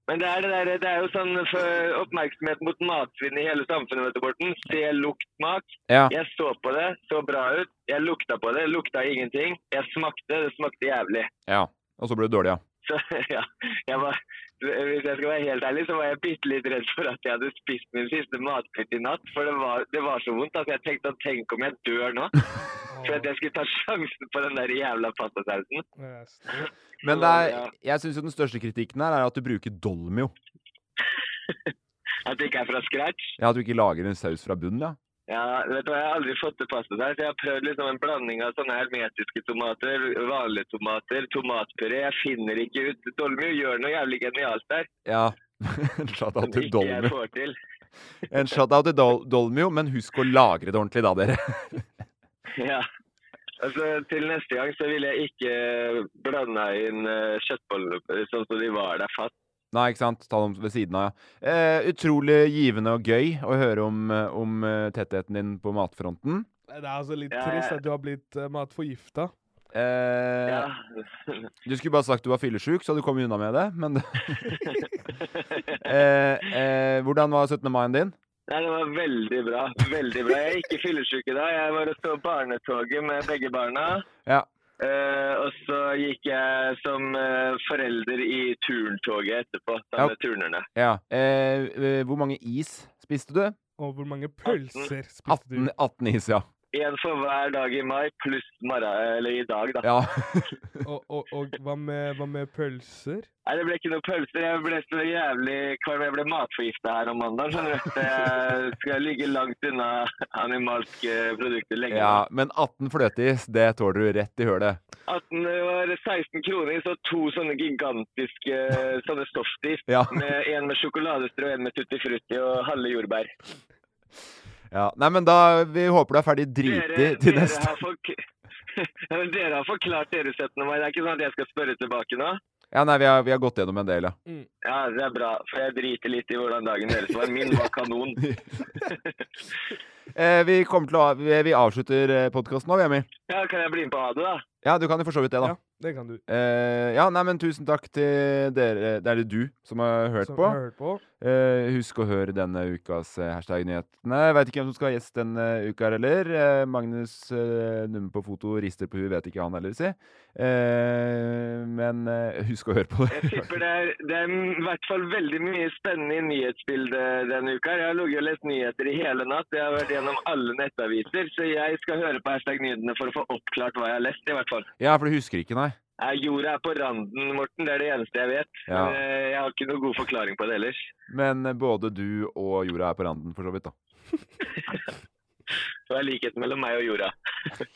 [SPEAKER 9] Men det er, det, der, det er jo sånn for oppmerksomhet mot matsvinn i hele samfunnet, vet du, Borten. Se, lukt, smak.
[SPEAKER 4] Ja.
[SPEAKER 9] Jeg så på det, så bra ut. Jeg lukta på det, lukta ingenting. Jeg smakte, det smakte jævlig.
[SPEAKER 4] Ja. Og så ble det dårlig, ja.
[SPEAKER 9] Så ja, jeg var, hvis jeg skal være helt ærlig, så var jeg bitte litt redd for at jeg hadde spist min siste matbit i natt. For det var, det var så vondt. Altså, jeg tenkte at tenk om jeg dør nå. For at jeg skulle ta sjansen på den der jævla pastasausen.
[SPEAKER 4] Men det er, jeg syns jo den største kritikken her er at du bruker dolmio.
[SPEAKER 9] At det ikke er fra scratch.
[SPEAKER 4] Ja, At du ikke lager en saus fra bunnen, ja.
[SPEAKER 9] Ja, vet du hva, Jeg har aldri fått til pastasaus. Jeg har prøvd liksom en blanding av sånne hermetiske tomater, vanlige tomater, tomatpuré. Jeg finner ikke ut. Dolmio gjør noe jævlig genialt der.
[SPEAKER 4] Ja. en shout-out
[SPEAKER 9] Som
[SPEAKER 4] til
[SPEAKER 9] ikke jeg
[SPEAKER 4] dolmio.
[SPEAKER 9] får til.
[SPEAKER 4] En shout-out til dol dolmio, men husk å lagre det ordentlig da, dere.
[SPEAKER 9] Ja. Altså, til neste gang så vil jeg ikke blande inn eh, kjøttboller sånn som de var der fast.
[SPEAKER 4] Nei, ikke sant? Ta dem ved siden av, ja. Eh, utrolig givende og gøy å høre om, eh, om eh, tettheten din på matfronten.
[SPEAKER 1] Det er altså litt
[SPEAKER 9] Ja,
[SPEAKER 1] trist
[SPEAKER 9] jeg-
[SPEAKER 1] at du har blitt uh, matforgifta.
[SPEAKER 4] Eh, Du skulle bare sagt du var fyllesyk, så hadde du kommet unna med det, men eh, eh, Hvordan var 17. mai-en din?
[SPEAKER 9] Nei, det var veldig bra. Veldig bra. Jeg er ikke fyllesyk i dag. Jeg var og så barnetoget med begge barna.
[SPEAKER 4] Ja.
[SPEAKER 9] Eh, og så gikk jeg som eh, forelder i turntoget etterpå, sammen med turnerne.
[SPEAKER 4] ja. Eh, eh, hvor mange is spiste du?
[SPEAKER 1] Og hvor mange pølser spiste
[SPEAKER 4] 18, 18 is, ja.
[SPEAKER 9] En for hver dag i mai, pluss mara, eller i dag, da.
[SPEAKER 4] ja.
[SPEAKER 1] og, og, og hva med, hva med pølser?
[SPEAKER 9] Nei, det ble ikke noe pølser. Jeg ble så jævlig kvalm. Jeg ble matforgifta her om mandagen. Skjønner du? Så Jeg skal ligge langt unna animalske produkter lenge.
[SPEAKER 4] ja. Men 18 fløteis, det tåler du rett i hølet.
[SPEAKER 9] 18 det var 16 kroner, så to sånne gigantiske sånne softis.
[SPEAKER 4] Ja.
[SPEAKER 9] Med, en med sjokoladestrø, en med tutti frutti og halve jordbær.
[SPEAKER 4] Ja. Nei, men da Vi håper du er ferdig driti
[SPEAKER 9] Dere,
[SPEAKER 4] til
[SPEAKER 9] dere,
[SPEAKER 4] neste
[SPEAKER 9] har fork Ja, men dere har forklart deres 17. mai. Det er ikke sånn at jeg skal spørre tilbake nå?
[SPEAKER 4] Ja, nei, vi har, vi har gått gjennom en del, ja.
[SPEAKER 9] Ja, det er bra, for jeg driter litt i hvordan dagen deres var. Min var kanon.
[SPEAKER 4] Eh, vi, kommer til å, vi, vi avslutter podkasten nå, vi, Emil.
[SPEAKER 9] Ja, Kan jeg bli med på ha det, da?
[SPEAKER 4] Ja, du kan jo for så vidt det, da.
[SPEAKER 1] Det kan du.
[SPEAKER 4] Eh, ja, nei, men tusen takk til dere Det er det du som har hørt
[SPEAKER 1] Som
[SPEAKER 4] på.
[SPEAKER 1] har hørt på.
[SPEAKER 4] Eh, husk å høre denne ukas eh, hashtag-nyhetene. Veit ikke hvem som skal ha gjest denne uka her heller. Eh, Magnus eh, nummer på foto rister på huet, vet ikke han heller, si. Eh, men eh, husk å høre på
[SPEAKER 9] Jeg
[SPEAKER 4] det.
[SPEAKER 9] tipper det er, det er i hvert fall veldig mye spennende i nyhetsbildet denne uka. her. Jeg har ligget og lest nyheter i hele natt. Jeg har vært gjennom alle nettaviser. Så jeg skal høre på hashtag nyhetene for å få oppklart hva jeg har lest, i hvert fall.
[SPEAKER 4] ja, for du husker ikke, nei?
[SPEAKER 9] Eh, Jorda er på randen, Morten. Det er det eneste jeg vet.
[SPEAKER 11] Ja.
[SPEAKER 9] Men, eh, Jeg har ikke noen god forklaring på det ellers.
[SPEAKER 11] Men eh, både du og jorda er på randen, for så vidt. da.
[SPEAKER 9] Hva er likheten mellom meg og jorda?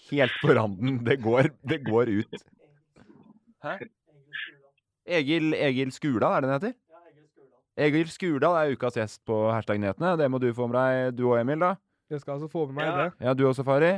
[SPEAKER 11] Helt på randen. Det går, det går ut. Hæ? Egil, Egil Skurdal, er det den heter? Egil Skurdal er ukas gjest på Hashtag Nyhetene. Det må du få med deg, du og Emil, da.
[SPEAKER 12] Jeg skal altså få med meg det.
[SPEAKER 11] Ja, du også, Fari.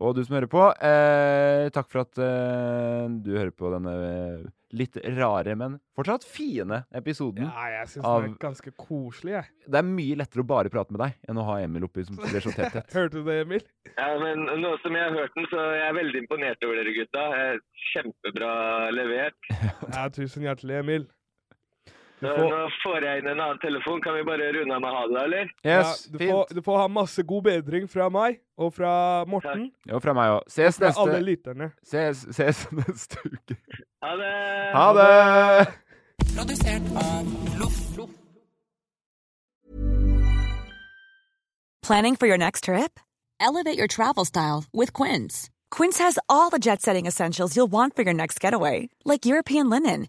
[SPEAKER 11] Og du som hører på, eh, takk for at eh, du hører på denne eh, litt rare, men fortsatt fine episoden.
[SPEAKER 12] Ja, jeg syns
[SPEAKER 11] av-
[SPEAKER 12] den er ganske koselig, jeg.
[SPEAKER 11] Det er mye lettere å bare prate med deg enn å ha Emil oppi som blir så tett tett.
[SPEAKER 12] Hørte du det, Emil?
[SPEAKER 9] Ja, men nå som jeg har hørt den, så jeg er veldig imponert over dere gutta. Eh, Kjempebra levert.
[SPEAKER 12] Ja, tusen hjertelig, Emil. Du
[SPEAKER 9] Så
[SPEAKER 12] får,
[SPEAKER 9] Nå får jeg inn en annen telefon. Kan vi bare runde av med ha det, da, eller?
[SPEAKER 12] ja, du, får, du får ha masse god bedring fra meg og fra Morten.
[SPEAKER 11] Jo, fra meg òg. Ses
[SPEAKER 12] Fra
[SPEAKER 11] neste
[SPEAKER 12] alle lytterne.
[SPEAKER 11] Ses, ses neste uke.
[SPEAKER 9] Ha det!
[SPEAKER 11] Ha det!
[SPEAKER 13] Produsert av Loff.
[SPEAKER 14] Planning for your next trip? Elevate your travel style with Quince. Quince has all the jet setting essentials you'll want for your next getaway, like European linen,